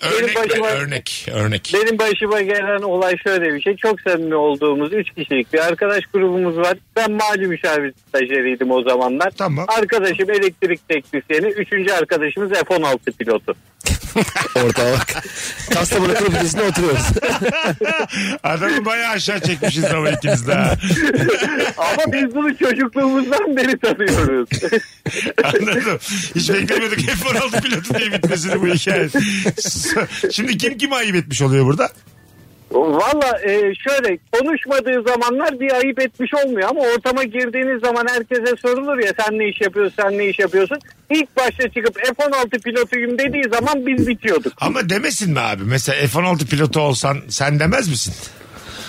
Örnek ver, örnek, örnek.
benim başıma gelen olay şöyle bir şey. Çok samimi olduğumuz 3 kişilik bir arkadaş grubumuz var. Ben mali müşavir stajyeriydim o zamanlar. Arkadaşım elektrik teknisyeni. Üçüncü arkadaşımız F-16 pilotu.
Ortaya bak. Kastamonu kırpıcısına oturuyoruz.
Adamı bayağı aşağı çekmişiz ama ikimiz de. ha.
Ama biz bunu çocukluğumuzdan beri tanıyoruz.
Anladım. Hiç beklemiyorduk F-16 pilotu diye bitmesini bu hikaye. Şimdi kim kimi ayıp etmiş oluyor burada?
Valla e, şöyle konuşmadığı zamanlar bir ayıp etmiş olmuyor ama ortama girdiğiniz zaman herkese sorulur ya sen ne iş yapıyorsun sen ne iş yapıyorsun. İlk başta çıkıp F-16 pilotuyum dediği zaman biz bitiyorduk.
Ama demesin mi abi? Mesela F-16 pilotu olsan sen demez misin?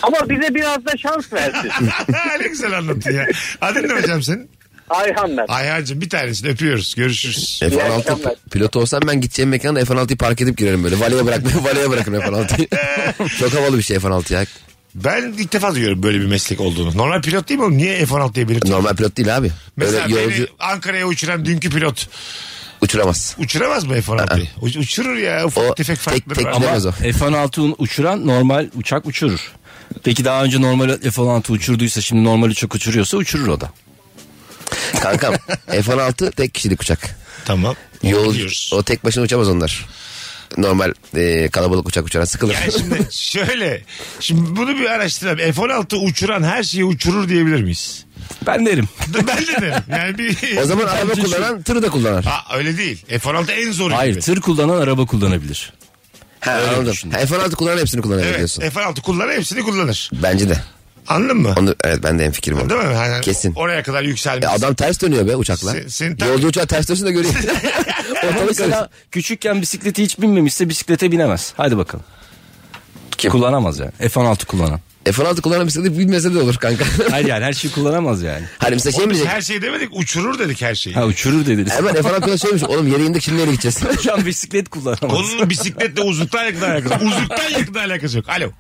Ama bize biraz da şans versin.
ne güzel anlattın ya. Adın ne hocam senin?
Ayhan ben.
Ayhan'cığım bir tanesini öpüyoruz. Görüşürüz.
F-16 pi- pilotu olsam ben gideceğim mekana F-16'yı park edip girerim böyle. Valeye bırakmayı, valeye bırakın F-16'yı. Çok havalı bir şey F-16 ya.
Ben ilk defa duyuyorum böyle bir meslek olduğunu. Normal pilot değil mi oğlum? Niye F-16 diye belirtiyor?
Normal pilot değil abi.
Mesela
Böyle yolcu
beni Ankara'ya uçuran dünkü pilot
uçuramaz.
uçuramaz mı F-16'yı? U- uçurur ya ufak tefek farkları var.
Ama F-16'ın uçuran normal uçak uçurur. Peki daha önce normal F-16 uçurduysa şimdi normal uçak uçuruyorsa uçurur o da.
Kankam F-16 tek kişilik uçak.
Tamam.
Yol, o tek başına uçamaz onlar. Normal e, kalabalık uçak uçaran sıkılır.
Yani şimdi şöyle. Şimdi bunu bir araştıralım. F-16 uçuran her şeyi uçurur diyebilir miyiz?
Ben derim.
ben de derim. Yani bir...
o zaman araba kullanan tırı da kullanır.
Ha, öyle değil. F-16 en zoru
Hayır
gibi.
tır kullanan araba kullanabilir.
Ha, anladım. Ha, F-16 kullanan hepsini kullanır
Evet,
diyorsun.
F-16 kullanır hepsini kullanır.
Bence de.
Anladın mı?
Onu, evet ben de en fikrim oldu.
Değil mi? Hani
Kesin.
Oraya kadar yükselmiş.
E, adam ters dönüyor be uçakla.
Sen- sen tabii-
Yolcu uçağı ters dönsün de göreyim.
Ama
Ortalık
mesela
karışsın.
küçükken bisikleti hiç binmemişse bisiklete binemez. Hadi bakalım. Kullanamaz yani. F-16 kullanan.
F-16 kullanan bisikleti bilmese de olur kanka.
Hayır yani her şeyi kullanamaz yani.
Hani mesela şey
Oğlum
mi
biz
diyecek?
her şeyi demedik uçurur dedik her şeyi.
Ha uçurur dediniz.
Hemen F-16 kullanan şeymiş. Oğlum yere şey indik şimdi nereye gideceğiz?
Şu an bisiklet kullanamaz.
Konunun bisikletle uzuktan yakın alakası. Uzuktan yakın alakası yok. Alo.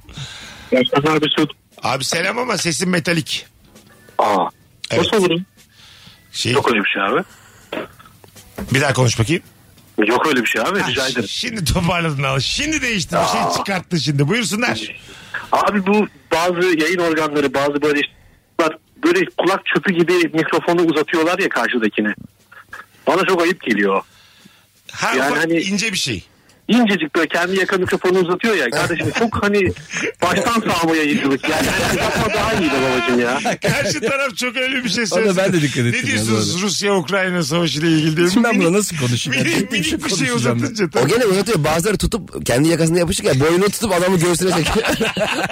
Abi şu
Abi selam ama sesin metalik.
Aa.
Evet.
Nasıl olurum?
Şey,
Yok öyle bir şey abi.
bir daha konuş bakayım.
Yok öyle bir şey abi. Rica
Ha,
ederim.
Şimdi toparladın al. Şimdi değişti. Bir şey çıkarttı şimdi. Buyursunlar.
Abi bu bazı yayın organları bazı böyle işte böyle kulak çöpü gibi mikrofonu uzatıyorlar ya karşıdakine. Bana çok ayıp geliyor. o.
Her
Yani
ufak
hani-
ince bir şey.
İncecik böyle kendi yaka mikrofonu uzatıyor ya. Kardeşim çok hani baştan sağma yayıncılık. Yani hani yapma daha iyiydi babacım ya.
Karşı taraf çok öyle bir şey
Ona
söylesin.
ben de dikkat ettim
Ne
ya,
diyorsunuz Rusya-Ukrayna savaşıyla ilgili? diye.
Şimdi ben
Minik-
buna nasıl konuşayım?
Minik,
Tek
minik bir şey
konuşacağım ben.
uzatınca.
O
tabii.
gene uzatıyor. Bazıları tutup kendi yakasında yapışık ya. Boynunu tutup adamı göğsüne çekiyor.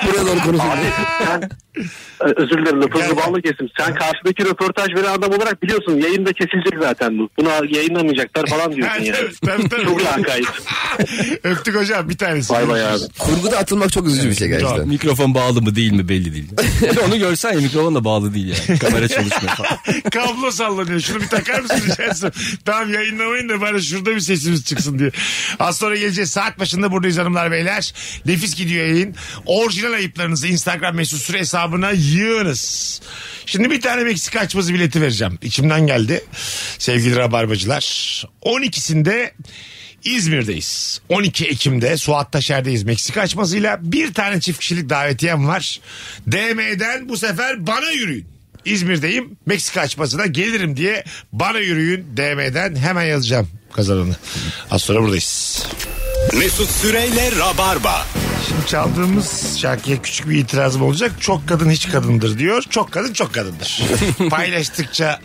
Buraya doğru konuşuyor.
Ee, Özür dilerim lafınızı balla kesim. Sen karşıdaki röportaj veren adam olarak biliyorsun yayında kesilecek zaten bu. Buna yayınlamayacaklar falan diyorsun yani.
Tabii, tabii.
Çok lakayt.
Öptük hocam bir tanesi.
Bay bay abi.
Kurguda atılmak çok üzücü bir şey gerçekten.
Mikrofon bağlı mı değil mi belli değil. Onu görsen ya mikrofon da bağlı değil yani. Kamera çalışmıyor falan.
Kablo sallanıyor. Şunu bir takar mısın rica etsem? Tamam yayınlamayın da bari şurada bir sesimiz çıksın diye. Az sonra geleceğiz. Saat başında buradayız hanımlar beyler. Nefis gidiyor yayın. Orijinal ayıplarınızı Instagram mesut süre hesabına yığınız. Şimdi bir tane Meksika açması bileti vereceğim. İçimden geldi. Sevgili Rabarbacılar. 12'sinde İzmir'deyiz. 12 Ekim'de Suat Taşer'deyiz. Meksika açmasıyla bir tane çift kişilik davetiyem var. DM'den bu sefer bana yürüyün. İzmir'deyim Meksika açmasına gelirim diye bana yürüyün DM'den hemen yazacağım kazananı. Az sonra buradayız.
Mesut Süreyle Rabarba.
Şimdi çaldığımız şarkıya küçük bir itirazım olacak. Çok kadın hiç kadındır diyor. Çok kadın çok kadındır. Paylaştıkça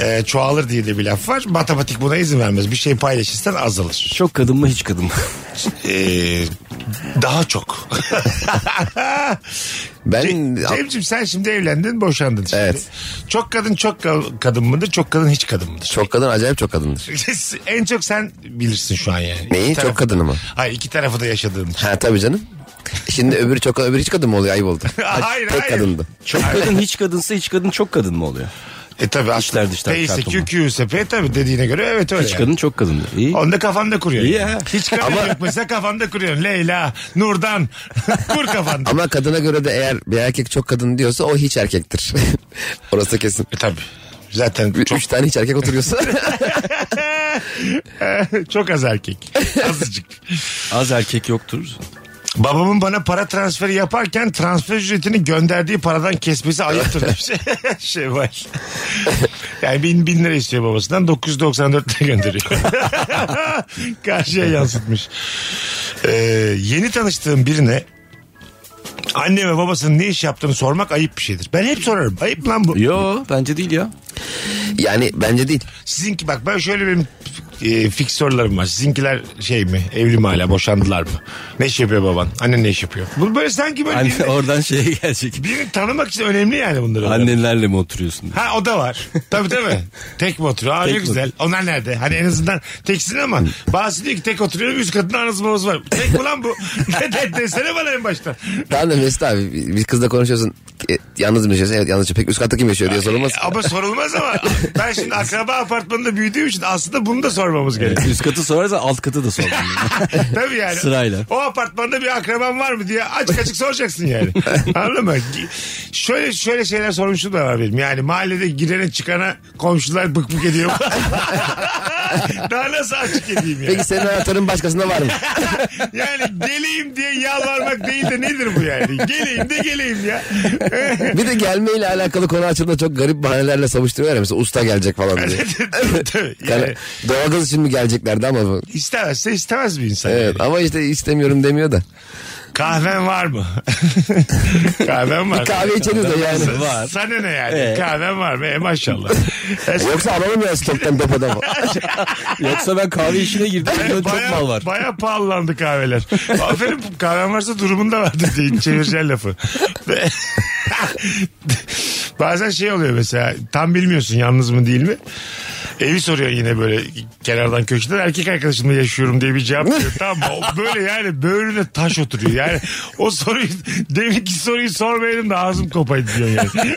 e, çoğalır diye de bir laf var. Matematik buna izin vermez. Bir şey paylaşırsan azalır.
Çok kadın mı hiç kadın mı?
E, daha çok.
Ben
Cem'ciğim sen şimdi evlendin boşandın şimdi.
Evet.
Çok kadın çok ka- kadın mıdır? Çok kadın hiç kadın mıdır?
çok kadın acayip çok kadındır.
en çok sen bilirsin şu an yani.
Neyi?
İki tarafı-
Çok kadını mı?
Hayır iki tarafı da yaşadığın için.
Ha tabii canım. Şimdi öbürü çok öbürü hiç kadın mı oluyor? Ayıp oldu.
Hayır,
Tek
hayır.
kadındı.
Çok kadın hiç kadınsa hiç kadın çok kadın mı oluyor?
E tabi
İçler dışlar
P
çarpımı.
Q, P tabi dediğine göre evet öyle.
Hiç kadın çok kadın. İyi.
Onu da kafanda kuruyorsun.
İyi ha.
Hiç kadın
Ama-
yok mesela kafanda kuruyorsun. Leyla, Nurdan. Kur kafanda.
Ama kadına göre de eğer bir erkek çok kadın diyorsa o hiç erkektir. Orası kesin.
E, tabii. Zaten
çok... Üç tane hiç erkek oturuyorsa.
Çok az erkek. Azıcık.
Az erkek yoktur.
Babamın bana para transferi yaparken transfer ücretini gönderdiği paradan kesmesi ayıptır demiş. şey var. Yani bin, bin lira istiyor babasından 994 lira gönderiyor. Karşıya yansıtmış. Ee, yeni tanıştığım birine anne ve babasının ne iş yaptığını sormak ayıp bir şeydir. Ben hep sorarım. Ayıp lan bu.
Yo bence değil ya.
yani bence değil.
Sizinki bak ben şöyle benim e, fix sorularım var. Sizinkiler şey mi? Evli mi hala? Boşandılar mı? Ne iş yapıyor baban? Anne ne iş yapıyor? Bu böyle sanki böyle
Anne, oradan şeye gelecek.
birini tanımak için önemli yani bunları.
Annelerle mi oturuyorsun?
Ha o da var. Tabii değil mi? Tek mi oturuyor? Aa, ne
Tek mi
güzel. Onlar nerede? Hani en azından teksin ama bazısı diyor ki tek oturuyor. Üst kadın anası babası var. Tek mi lan bu? Ne de, desene bana en başta.
Tamam da Mesut abi bir- bir kızla konuşuyorsun. E, yalnız mı yaşıyorsun? Evet yalnız. yaşıyorum. Peki üst katta kim yaşıyor diye sorulmaz.
Ama sorulmaz ama. Ben şimdi akraba apartmanında büyüdüğüm için aslında bunu da sormamız gerekiyor.
Üst katı sorarsa alt katı da sor.
Tabii yani.
Sırayla.
O apartmanda bir akraban var mı diye açık açık soracaksın yani. Anladın mı? Şöyle şöyle şeyler sormuşum da var benim. Yani mahallede girene çıkana komşular bık bık ediyor. Daha nasıl açık edeyim yani?
Peki senin anahtarın başkasında var mı?
Yani geleyim diye yalvarmak değil de nedir bu yani? Geleyim de geleyim ya.
Bir de gelmeyle alakalı konu açıldığında çok garip bahanelerle savuşturuyorlar ya. Mesela usta gelecek falan diye.
Tabii, tabii.
Yani
Yani
doğalgaz için mi geleceklerdi ama bu.
istemezse istemez bir insan.
Evet ama işte istemiyorum demiyor da.
Kahven var mı? Kahven var.
Bir kahve içeriz de yani.
Sa- Sana ne yani?
Evet.
Kahven var mı? E, maşallah.
Yoksa alalım ya stoktan depodan.
Yoksa ben kahve işine girdim. Bunda çok
Baya,
mal var.
baya pahalandı kahveler. Aferin kahven varsa durumunda vardır diye çevireceğin lafı. Ve- Bazen şey oluyor mesela tam bilmiyorsun yalnız mı değil mi? Evi soruyor yine böyle kenardan köşeden erkek arkadaşımla yaşıyorum diye bir cevap veriyor. tamam mı? O Böyle yani böğrüne taş oturuyor. Yani o soruyu deminki soruyu sormayalım da ağzım kopaydı diyor yani.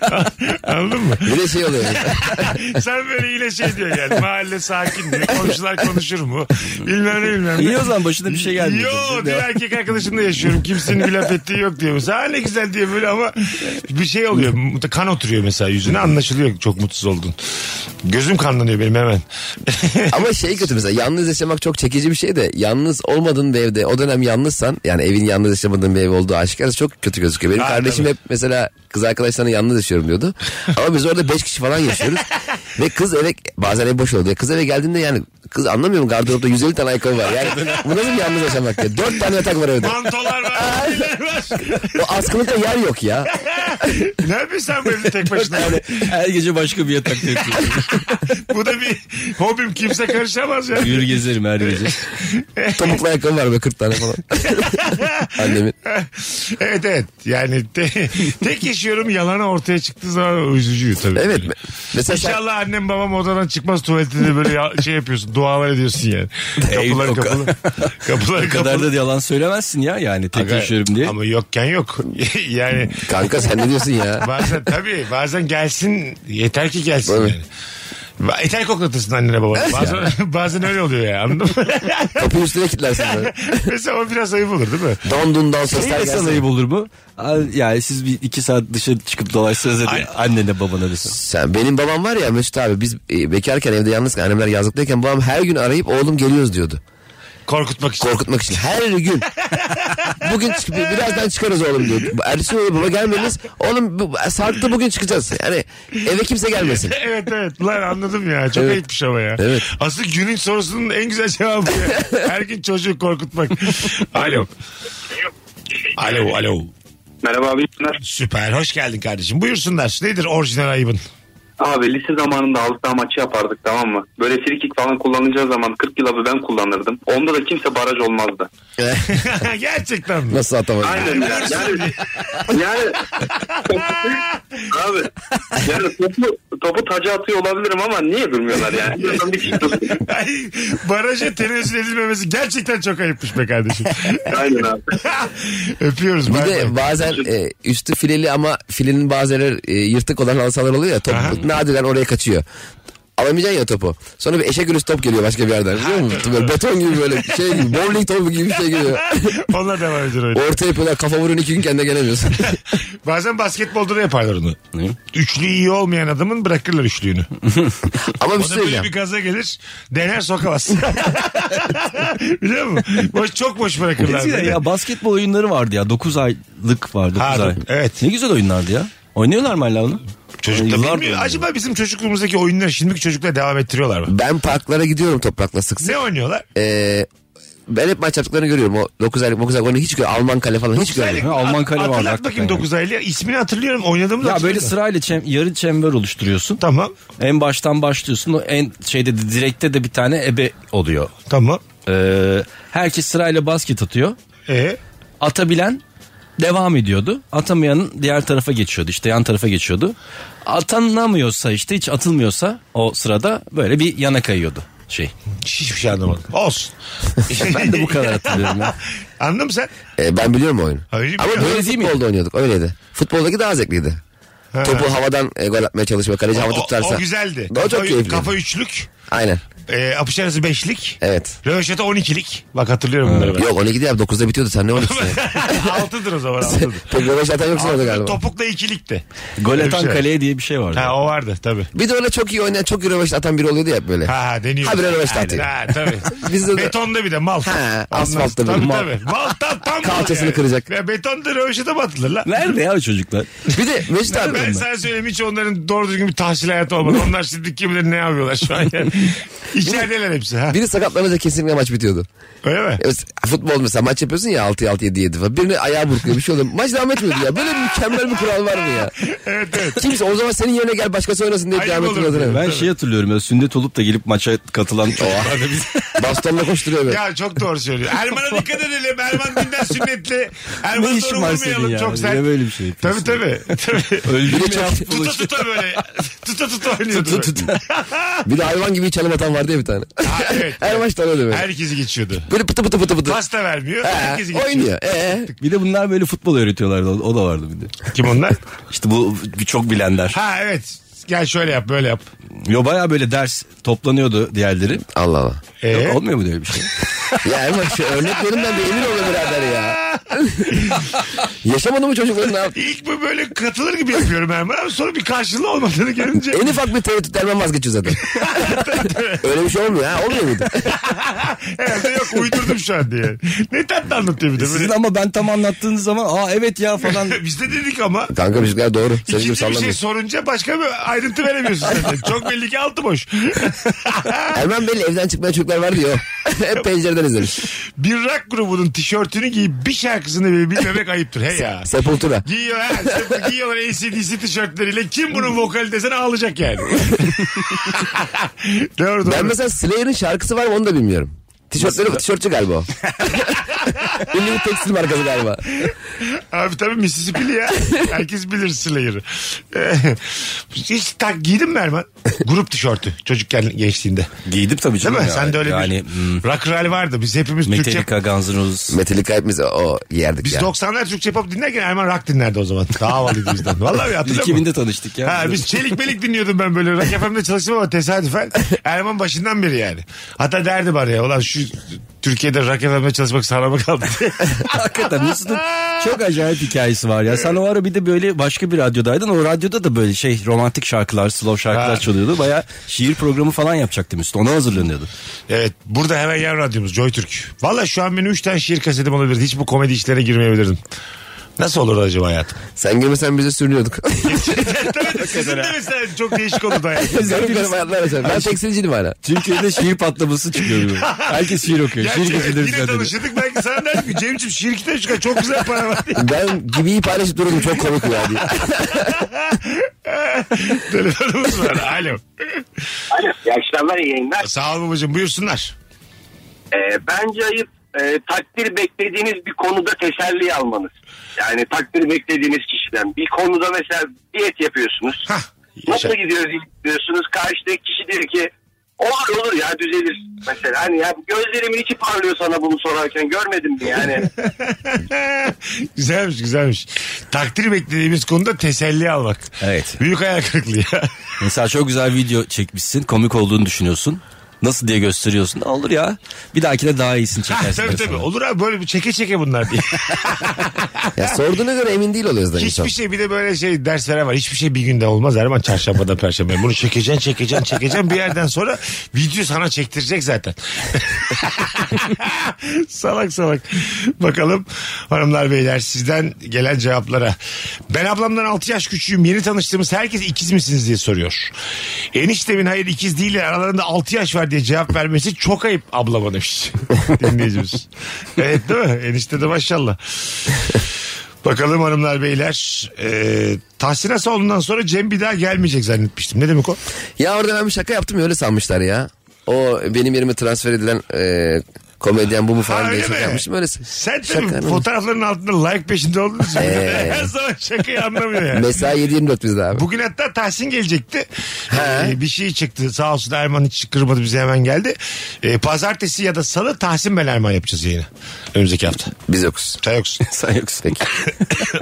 Anladın mı?
Bir de şey oluyor.
Sen böyle yine şey diyor yani mahalle sakin diyor. Komşular konuşur mu? Bilmem ne bilmem ne.
İyi o zaman başına bir şey gelmiyor.
Yo diyor erkek arkadaşımla yaşıyorum. Kimsenin bir laf ettiği yok diyor. Mesela "Ha, ne güzel diye böyle ama bir şey oluyor. Kan oturuyor mesela yüzüne anlaşılıyor çok mutsuz oldun. Gözüm kanlanıyor benim hemen.
Ama şey kötü mesela yalnız yaşamak çok çekici bir şey de yalnız olmadığın bir evde o dönem yalnızsan yani evin yalnız yaşamadığın bir ev olduğu aşikar çok kötü gözüküyor. Benim
Ha,
kardeşim
tabii.
hep mesela kız arkadaşlarına yalnız yaşıyorum diyordu. Ama biz orada 5 kişi falan yaşıyoruz. Ve kız eve bazen ev boş oluyor. Kız eve geldiğinde yani kız anlamıyor mu gardıropta 150 tane ayakkabı var. Yani bu nasıl bir yalnız yaşamak ya? 4 tane yatak var evde.
Mantolar var. şeyler var.
O askılıkta yer yok ya.
ne yapıyorsun sen bu evde tek başına?
Her gece başka bir yatakta yatıyorum.
Bu da bir hobim kimse karışamaz ya.
Yürü gezerim her gece.
Topuklu ayakkabı var böyle 40 tane falan. Annemin.
evet evet yani te- tek yaşıyorum yalanı ortaya çıktığı zaman üzücü tabii.
Evet. Mesela sen-
İnşallah annem babam odadan çıkmaz tuvalette de böyle ya- şey yapıyorsun dualar ediyorsun Şey yani. Kapılar
yok.
kapalı. Kapılar
O kadar
kapalı.
da yalan söylemezsin ya yani tek
Aga,
yaşıyorum diye.
Ama yokken yok. yani
kanka sen ne diyorsun ya?
bazen tabii bazen gelsin yeter ki gelsin
Tabii.
yani. Ba- Yeter koklatırsın annene babana. Bazen, bazen öyle oluyor ya anladın mı?
Kapıyı üstüne kilitlersin böyle.
Mesela o biraz ayıp olur değil mi?
Don dun don sesler
Neyle sana
gelsin.
ayıp olur mu? Al- Yani siz bir iki saat dışarı çıkıp dolaşsanız hadi annene babana desin.
Sen, benim babam var ya Mesut abi biz e, bekarken evde yalnızken annemler yazlıktayken babam her gün arayıp oğlum geliyoruz diyordu.
Korkutmak için.
Korkutmak için her gün. bugün çıkıp birazdan çıkarız oğlum diyor. Ertesi gün baba gelmediniz. Oğlum bu, sarktı bugün çıkacağız. Yani eve kimse gelmesin.
evet evet lan anladım ya çok ayıpmış ama ya.
Evet.
Asıl günün sorusunun en güzel cevabı ya. Her gün çocuğu korkutmak. alo. Alo alo.
Merhaba abi. iyi günler.
Süper hoş geldin kardeşim. Buyursunlar nedir orijinal ayıbın?
Abi lise zamanında halı saha maçı yapardık tamam mı? Böyle frikik falan kullanacağı zaman 40 yıl abi ben kullanırdım. Onda da kimse baraj olmazdı.
Gerçekten mi?
Nasıl atamadım?
Aynen ya. yani yani abi yani topu, topu taca atıyor olabilirim ama niye bilmiyorlar yani? Buradan bir şey tutsun.
Ay, baraja tenezzül edilmemesi gerçekten çok ayıpmış be kardeşim.
Aynen abi.
Öpüyoruz.
Bir
bay bay.
de bazen e, üstü fileli ama filenin bazıları e, yırtık olan halı sahalar oluyor ya. Top,
Aha.
ne nadiren oraya kaçıyor. Alamayacaksın ya topu. Sonra bir eşek ölüsü top geliyor başka bir yerden. Biliyor musun? Böyle beton gibi böyle şey gibi. Bowling topu gibi bir şey geliyor.
Onlar devam ediyor öyle.
Orta yapıyorlar kafa vurun iki gün kendine gelemiyorsun.
Bazen basketbolda da yaparlar onu. Üçlü iyi olmayan adamın bırakırlar üçlüğünü. o da
Ama bir şey
böyle
söyleyeceğim.
bir gaza gelir dener sokamaz. Biliyor musun? Boş, çok boş bırakırlar.
Eskiden
böyle.
ya basketbol oyunları vardı ya. 9 aylık vardı. 9
Ha,
ay.
Evet.
Ne güzel oyunlardı ya. Oynuyorlar mı hala onu?
Çocuklar
Yıllardır
bilmiyor.
oynuyorlar.
Acaba bizim çocukluğumuzdaki oyunları şimdiki çocuklar devam ettiriyorlar mı?
Ben parklara gidiyorum toprakla sık sık.
Ne oynuyorlar?
Ee, ben hep maç yaptıklarını görüyorum. O 9 aylık 9 aylık onu hiç gör Alman kale falan hiç görmedim.
Ha, Alman kale vardı
Hatırlat
hakikaten
bakayım
yani.
9 aylı. İsmini hatırlıyorum. Oynadığımı da
Ya böyle
hatırlıyorum.
sırayla çem, yarı çember oluşturuyorsun.
Tamam.
En baştan başlıyorsun. O En şeyde de- direkte de bir tane ebe oluyor.
Tamam.
Ee, herkes sırayla basket atıyor.
Ee?
Atabilen devam ediyordu. Atamayanın diğer tarafa geçiyordu. İşte yan tarafa geçiyordu. Atanamıyorsa işte hiç atılmıyorsa o sırada böyle bir yana kayıyordu şey.
Hiçbir şey anlamadım. Olsun.
ben de bu kadar hatırlıyorum ya.
Anladın mı sen?
Ee, ben biliyorum oyunu.
Öyle mi?
Ama
ya?
böyle futbolda oynuyorduk öyleydi. Futboldaki daha zevkliydi.
Ha.
Topu havadan e, gol atmaya çalışma kaleci havada
O,
tutarsa.
o güzeldi.
Daha çok
kafa,
keyifli.
kafa üçlük.
Aynen.
E, apış arası beşlik.
Evet.
Röveşata 12'lik. Bak hatırlıyorum bunları ben.
Yok 12'de ya 9'da bitiyordu sen ne 12'si?
Altıdır o zaman altıdır.
Pek röveş atan yoksun orada galiba.
Topukla ikilikti.
Gol
Öyle bir
atan
şey.
kaleye diye bir şey vardı.
Ha o vardı tabii.
Bir de öyle çok iyi oynayan çok iyi röveş atan biri oluyordu ya hep böyle.
Ha ha, deniyor.
Ha, bir röveşat
Aynen,
atıyor.
Ha tabii.
Bizde de-
Betonda bir de mal.
Ha,
Anlarsın.
asfaltta
tabii,
bir mal.
Tabii. Mal tam tam. mal
Kalçasını
yani.
kıracak.
Ya betonda röveşata mı atılır lan?
Nerede ya o çocuklar?
Bir de Mesut abi.
Ben sana söyleyeyim hiç onların doğru düzgün bir tahsil hayatı olmadı. Onlar şimdi kim bilir ne yapıyorlar şu an yani. İçerideler hepsi ha.
Biri sakatlanınca kesinlikle maç bitiyordu.
Öyle mi?
E, Futbol mesela maç yapıyorsun ya 6 6 7 7 falan. Birine ayağı burkuyor bir şey oluyor. Maç devam etmiyordu ya. Böyle bir mükemmel bir kural var mı ya?
Evet evet.
Kimse o zaman senin yerine gel başkası oynasın diye
Ayıp
devam
olur.
etmiyordu.
Ben şey hatırlıyorum ya sünnet olup da gelip maça katılan çocuklarda biz.
Bastonla koşturuyor böyle.
Ya çok doğru söylüyor. Erman'a dikkat edelim. Erman dünden sünnetli. Erman'ı
Ne
doğru
işin var senin
vurmayalım
ya?
çok
Niye
sert.
böyle bir şey
Tabii
yapıyorsun?
tabii. tabii.
Öldü
Bir de
mü ya?
çok-
tuta tuta böyle. Tuta tuta oynuyordu.
Tut,
böyle.
tut.
Bir de hayvan gibi çalım atan vardı ya bir tane.
Ha, evet.
Her maçtan öyle böyle.
Herkesi geçiyordu.
Böyle pıtı pıtı pıtı pıtı.
Pasta vermiyor.
Ee,
Herkesi geçiyor.
oynuyor. Ee,
Bir de bunlar böyle futbol öğretiyorlardı. O o da vardı bir de.
Kim onlar?
İşte bu çok bilenler.
Ha evet. Gel şöyle yap böyle yap.
Yo baya böyle ders toplanıyordu diğerleri.
Allah Allah.
Ee?
Yok, olmuyor mu böyle bir şey?
Ya Erman şu örnek verin ben de emin oluyorum birader ya. Yaşamadı mı çocukların ne yap-
İlk bu böyle katılır gibi yapıyorum Erman abi. Sonra bir karşılığı olmadığını görünce.
En ufak bir tereddüt Erman vazgeçiyor zaten. Öyle bir şey olmuyor ha. Olmuyor muydu?
Herhalde yok uydurdum şu an diye. Ne tatlı anlatıyor bir de.
E, Sizin
Böyle.
ama ben tam anlattığınız zaman aa evet ya falan.
Biz de dedik ama.
Kanka müzikler doğru. Senin
İkinci
gibi
bir şey
sallamıyor.
sorunca başka bir ayrıntı veremiyorsun sen de. Çok belli ki altı boş.
Erman Bey'le evden çıkmayan çocuklar var diyor. Hep pencereden izlemiş.
bir rock grubunun tişörtünü giyip bir şarkısını bile bilmemek ayıptır. He ya.
Sepultura.
Giyiyor ha. sırf Giyiyorlar ACDC tişörtleriyle. Kim bunun vokali desene ağlayacak yani. doğru doğru.
Ben mesela Slayer'in şarkısı var mı onu da bilmiyorum. Tişörtleri, tişörtçü galiba o. Ünlü bir tekstil markası galiba.
Abi tabii Mississippi'li ya. Herkes bilir Slayer'ı. Hiç tak giydin mi Erman? Grup tişörtü çocukken gençliğinde.
Giydim tabii
Değil
canım.
mi?
ya.
Sen de öyle
yani,
bir
hmm,
rock rally vardı. Biz hepimiz Türkçe...
Metallica, Guns N' Roses.
Metallica hepimiz o- o yerdik
Biz
ya.
90'lar Türkçe pop dinlerken Erman rock dinlerdi o zaman. Daha havalıydı bizden. Vallahi
Biz
hatırlamıyorum.
2000'de tanıştık ya.
Ha, biz çelik belik dinliyordum ben böyle. Rock FM'de çalıştım ama tesadüfen. Erman başından beri yani. Hatta derdi bari ya. Ulan şu Türkiye'de Rock FM'de çalışmak sarama kaldı.
Hakikaten Mesut'un çok acayip hikayesi var ya. Sen o ara bir de böyle başka bir radyodaydın. O radyoda da böyle şey romantik şarkılar, slow şarkılar
Ha.
çalıyordu. Baya şiir programı falan yapacaktı Mesut. Ona hazırlanıyordu.
Evet burada hemen yan radyomuz Joy Türk. Valla şu an benim 3 tane şiir kasetim olabilir. Hiç bu komedi işlere girmeyebilirdim. Nasıl olurdu acaba hayatım?
Sen girmesen bize sürünüyorduk.
Tabii de sizin de mesela çok değişik olurdu hayatım.
Biz garip garip hayatlar yaşadık. Ben tekstilciydim hala.
Türkiye'de şiir patlaması çıkıyor. böyle. Herkes şiir okuyor.
Ya
şiir geceleri
yine
düzenleniyor.
tanışırdık belki sana derdim ki Cem'ciğim şiir kitabı çıkar çok güzel para var diye.
Ben gibiyi paylaşıp duruyordum çok komik ya diye.
Telefonumuz var. Alo.
İyi akşamlar, iyi yayınlar.
Sağ ol babacığım buyursunlar.
Ee, bence ayıp e, takdir beklediğiniz bir konuda teselli almanız. Yani takdir beklediğiniz kişiden. Bir konuda mesela diyet yapıyorsunuz.
Hah.
Nasıl gidiyoruz diyorsunuz. Karşıdaki kişi diyor ki
Olur olur ya düzelir mesela. Hani ya gözlerimin içi parlıyor sana bunu sorarken görmedim mi yani?
güzelmiş güzelmiş. Takdir beklediğimiz konuda teselli almak.
Evet.
Büyük hayal kırıklığı ya.
Mesela çok güzel video çekmişsin. Komik olduğunu düşünüyorsun. Nasıl diye gösteriyorsun. Olur ya. Bir dahakine daha iyisini
Ha,
çekersin.
tabii tabii. Olur abi böyle bir çeke çeke bunlar diye.
Ya sorduğuna göre emin değil oluyoruz da insan.
Hiçbir şey bir de böyle şey ders veren var. Hiçbir şey bir günde olmaz Erman. Çarşamba'da Perşembe. Bunu çekeceksin çekeceksin çekeceksin. Bir yerden sonra video sana çektirecek zaten. salak salak. Bakalım hanımlar beyler sizden gelen cevaplara. Ben ablamdan 6 yaş küçüğüm. Yeni tanıştığımız herkes ikiz misiniz diye soruyor. Eniştemin hayır ikiz değil aralarında 6 yaş var diye cevap vermesi çok ayıp ablama demiş. Dinleyicimiz. Evet değil mi? Enişte de maşallah. Bakalım hanımlar beyler. Ee, Tahsin Asaoğlu'ndan sonra Cem bir daha gelmeyecek zannetmiştim. Ne demek o?
Ya orada ben bir şaka yaptım ya öyle sanmışlar ya. O benim yerime transfer edilen e, komedyen bu mu falan diye şaka yapmıştım. Öyle
Sen tabii
şaka-
fotoğrafların altında like peşinde oldun.
Ee.
Her zaman şakayı anlamıyor yani.
Mesai 7-24 bizde abi.
Bugün hatta Tahsin gelecekti. Ee, bir şey çıktı. Sağ olsun Erman hiç kırmadı bize hemen geldi. Ee, pazartesi ya da salı Tahsin ben Erman yapacağız yayını. Önümüzdeki hafta.
Biz yokuz.
Sen yoksun.
Sen yoksun.
Peki.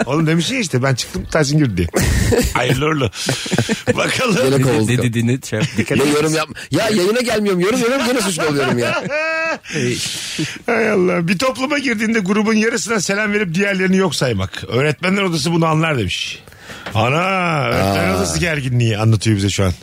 Oğlum demişsin ya işte ben çıktım Tahsin girdi diye. Hayırlı uğurlu. Bakalım.
Gene kovulduk.
Ne dediğini şey yap, dikkat
Ya
et.
yorum yap. Ya yayına gelmiyorum. Yorum yorum gene suçlu oluyorum ya.
Hay Allah. Bir topluma girdiğinde grubun yarısına selam verip diğerlerini yok saymak. Öğretmenler odası bunu anlar demiş. Ana öğretmen odası gerginliği anlatıyor bize şu an.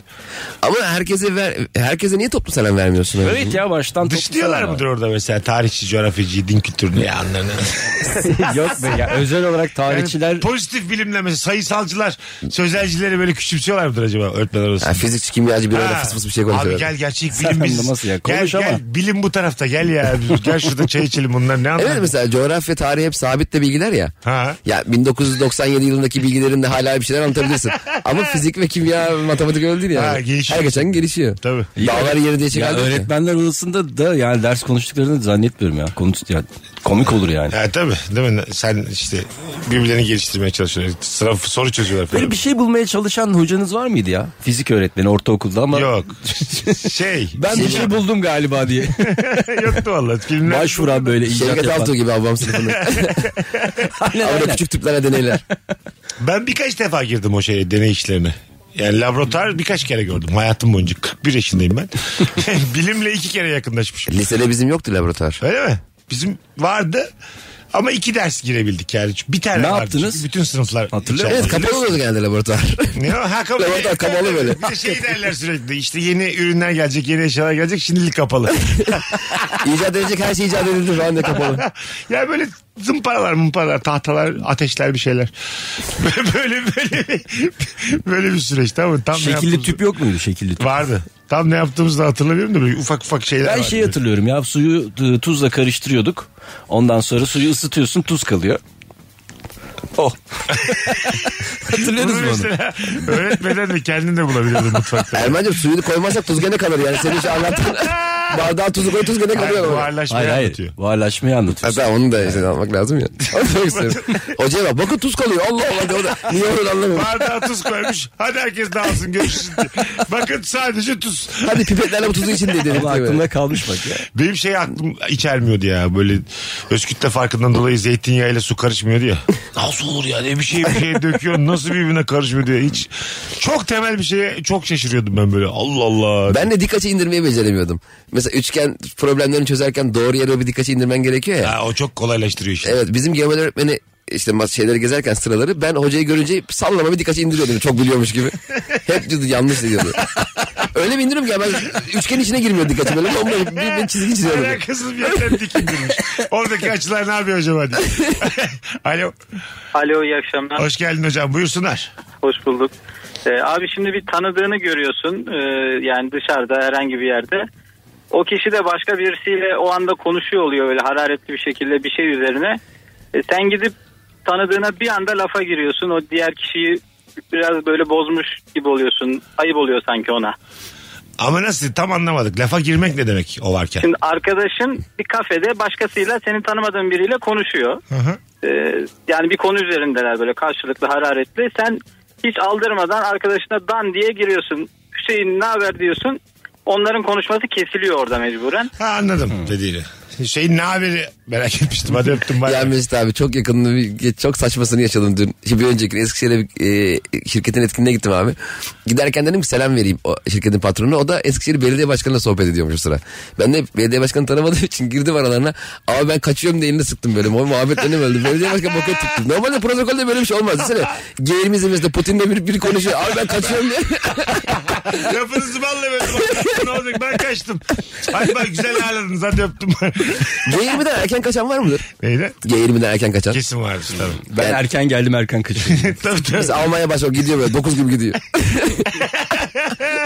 Ama herkese ver, herkese niye toplu selam vermiyorsun? öyle?
Evet ya baştan
Dışlıyorlar
toplasana.
mıdır orada mesela tarihçi, coğrafyacıyı, din kültürünü ya anlarını?
Yok be ya özel olarak tarihçiler
Yani pozitif bilimle mesela sayısalcılar, sözelcileri böyle küçümsüyorlar mıdır acaba öğretmenler odası?
Ha, fizikçi, kimyacı bir arada
Ha.
fıs fıs bir şey konuşuyor.
Abi gel gerçek bilim
Sen
biz.
anlaması ya,
gel
konuş ama.
gel bilim bu tarafta gel ya. gel şurada çay içelim bunlar ne anlamı?
Evet mesela coğrafya, tarih hep sabit de bilgiler ya.
Ha.
Ya 1997 yılındaki bilgilerinde hala bir şeyler anlatabilirsin. Ama fizik ve kimya, matematik öyle değil yani.
Ha, gelişiyor.
Her geçen gün gelişiyor.
Tabii.
Dağlar yeri diye
ya
çıkardı.
öğretmenler odasında da yani ders konuştuklarını zannetmiyorum ya. Konuş, ya komik olur yani.
Ha, tabii değil mi? Sen işte birbirlerini geliştirmeye çalışıyorlar. Sıra soru çözüyorlar falan.
Böyle bir şey bulmaya çalışan hocanız var mıydı ya? Fizik öğretmeni ortaokulda ama
Yok. şey.
ben bir şey buldum galiba diye.
Yoktu valla. Filmler.
Başvuran böyle icat
Şevket
yapan.
Altuğ gibi ablam sınıfında.
Aynen,
Ama
aynen.
küçük tüplere deneyler.
Ben birkaç defa girdim o şeye deney işlerine. Yani laboratuvar birkaç kere gördüm hayatım boyunca. 41 yaşındayım ben. Bilimle iki kere yakınlaşmışım.
Lisede bizim yoktu laboratuvar.
Öyle mi? Bizim vardı ama iki ders girebildik yani. Bir tane
Ne
vardı.
yaptınız?
Çünkü Bütün sınıflar.
Hatırlıyor
Evet
içeride.
kapalı oluyordu genelde laboratuvar.
Ne o? Ha kapalı.
Laboratuvar kapalı böyle.
Bir de şey derler sürekli işte yeni ürünler gelecek, yeni eşyalar gelecek şimdilik kapalı.
icat edecek her şey icat edildi şu anda kapalı.
ya böyle zımparalar mımparalar tahtalar ateşler bir şeyler. Böyle böyle böyle, böyle bir süreç tamam mı? Tam ne
Şekilli
yaptığımızı-
tüp yok muydu şekilli tüp?
Vardı. Tam ne yaptığımızı da hatırlamıyorum da böyle ufak ufak şeyler
Ben
vardı.
şey hatırlıyorum ya suyu e, tuzla karıştırıyorduk. Ondan sonra suyu ısıtıyorsun tuz kalıyor. Oh. Hatırlıyorsunuz
Bunu
mu onu?
mesela öğretmeden de kendin de bulabiliyordun mutfakta.
Erman'cığım suyunu koymazsak tuz gene kalır yani. Senin şu anlattığın bardağa tuzu koy tuz gene kalıyor.
Hayır,
ama.
buharlaşmayı
Hayır hayır.
anlatıyor.
Varlaşmayı anlatıyorsun.
Hatta onu da işte almak lazım ya. Onu demek istiyorum. Hocaya bak bakın tuz kalıyor. Allah Allah. O da, niye onu anlamıyorum.
Bardağa tuz koymuş. Hadi herkes dağılsın görüşürüz diye. Bakın sadece tuz.
Hadi pipetlerle bu tuzu içinde dedim.
Ama aklımda kalmış bak ya.
Benim şey aklım içermiyordu ya. Böyle özkütle farkından dolayı zeytinyağıyla su karışmıyordu ya. Nasıl olur ya ne bir şey bir şey döküyor. Nasıl birbirine karışmıyor diye. Hiç çok temel bir şeye çok şaşırıyordum ben böyle. Allah Allah.
Ben de dik açı indirmeyi beceremiyordum. Mesela üçgen problemlerini çözerken doğru yere bir dik açı indirmen gerekiyor ya.
Ha, o çok kolaylaştırıyor işi.
Evet bizim geometri öğretmeni işte mas- şeyleri gezerken sıraları ben hocayı görünce sallama bir dikkat indiriyordum çok biliyormuş gibi. Hep diyordu yanlış diyordu. Öyle mi indiriyorum ki ya ben üçgen içine girmiyor dikkatım böyle bomba bir, bir çizgi çiziyorum.
Alakasız bir yerden dik indirmiş. Oradaki açılar ne yapıyor acaba diye. Alo.
Alo iyi akşamlar.
Hoş geldin hocam. Buyursunlar.
Hoş bulduk. Ee, abi şimdi bir tanıdığını görüyorsun ee, yani dışarıda herhangi bir yerde. O kişi de başka birisiyle o anda konuşuyor oluyor böyle hararetli bir şekilde bir şey üzerine. E, sen gidip tanıdığına bir anda lafa giriyorsun o diğer kişiyi biraz böyle bozmuş gibi oluyorsun ayıp oluyor sanki ona.
Ama nasıl tam anlamadık. Lafa girmek ne demek o varken?
Şimdi arkadaşın bir kafede başkasıyla senin tanımadığın biriyle konuşuyor.
Hı hı.
Ee, yani bir konu üzerindeler böyle karşılıklı hararetli. Sen hiç aldırmadan arkadaşına dan diye giriyorsun. Hüseyin ne haber diyorsun.
Onların konuşması kesiliyor orada mecburen.
Ha anladım dediğini. Şeyin ne haberi merak etmiştim hadi öptüm bari.
Ya Mesut abi çok yakınını bir- çok saçmasını yaşadım dün. Şimdi bir önceki gün Eskişehir'e bir, e, şirketin etkinliğine gittim abi. Giderken dedim ki selam vereyim o şirketin patronuna. O da Eskişehir Belediye Başkanı'yla sohbet ediyormuş o sıra. Ben de belediye başkanı tanımadığım için girdim aralarına. Ama ben kaçıyorum diye elini sıktım böyle. O muhabbet önüm öldü. Belediye başkanı bakıyor tuttu. Normalde protokolde böyle bir şey olmaz. Desene. G20 zirvesinde Putin'le bir, bir konuşuyor. Abi ben kaçıyorum diye.
Lafınızı balla böyle. ne olacak ben kaçtım. Hadi bak güzel ağladınız hadi öptüm.
G20'den erken kaçan var mıdır?
Neydi?
G20'den erken kaçan.
Kesin vardır tabii.
Ben erken geldim erken kaçıyorum.
tabii tabii.
Biz Almanya başlıyor gidiyor böyle 9 gibi gidiyor.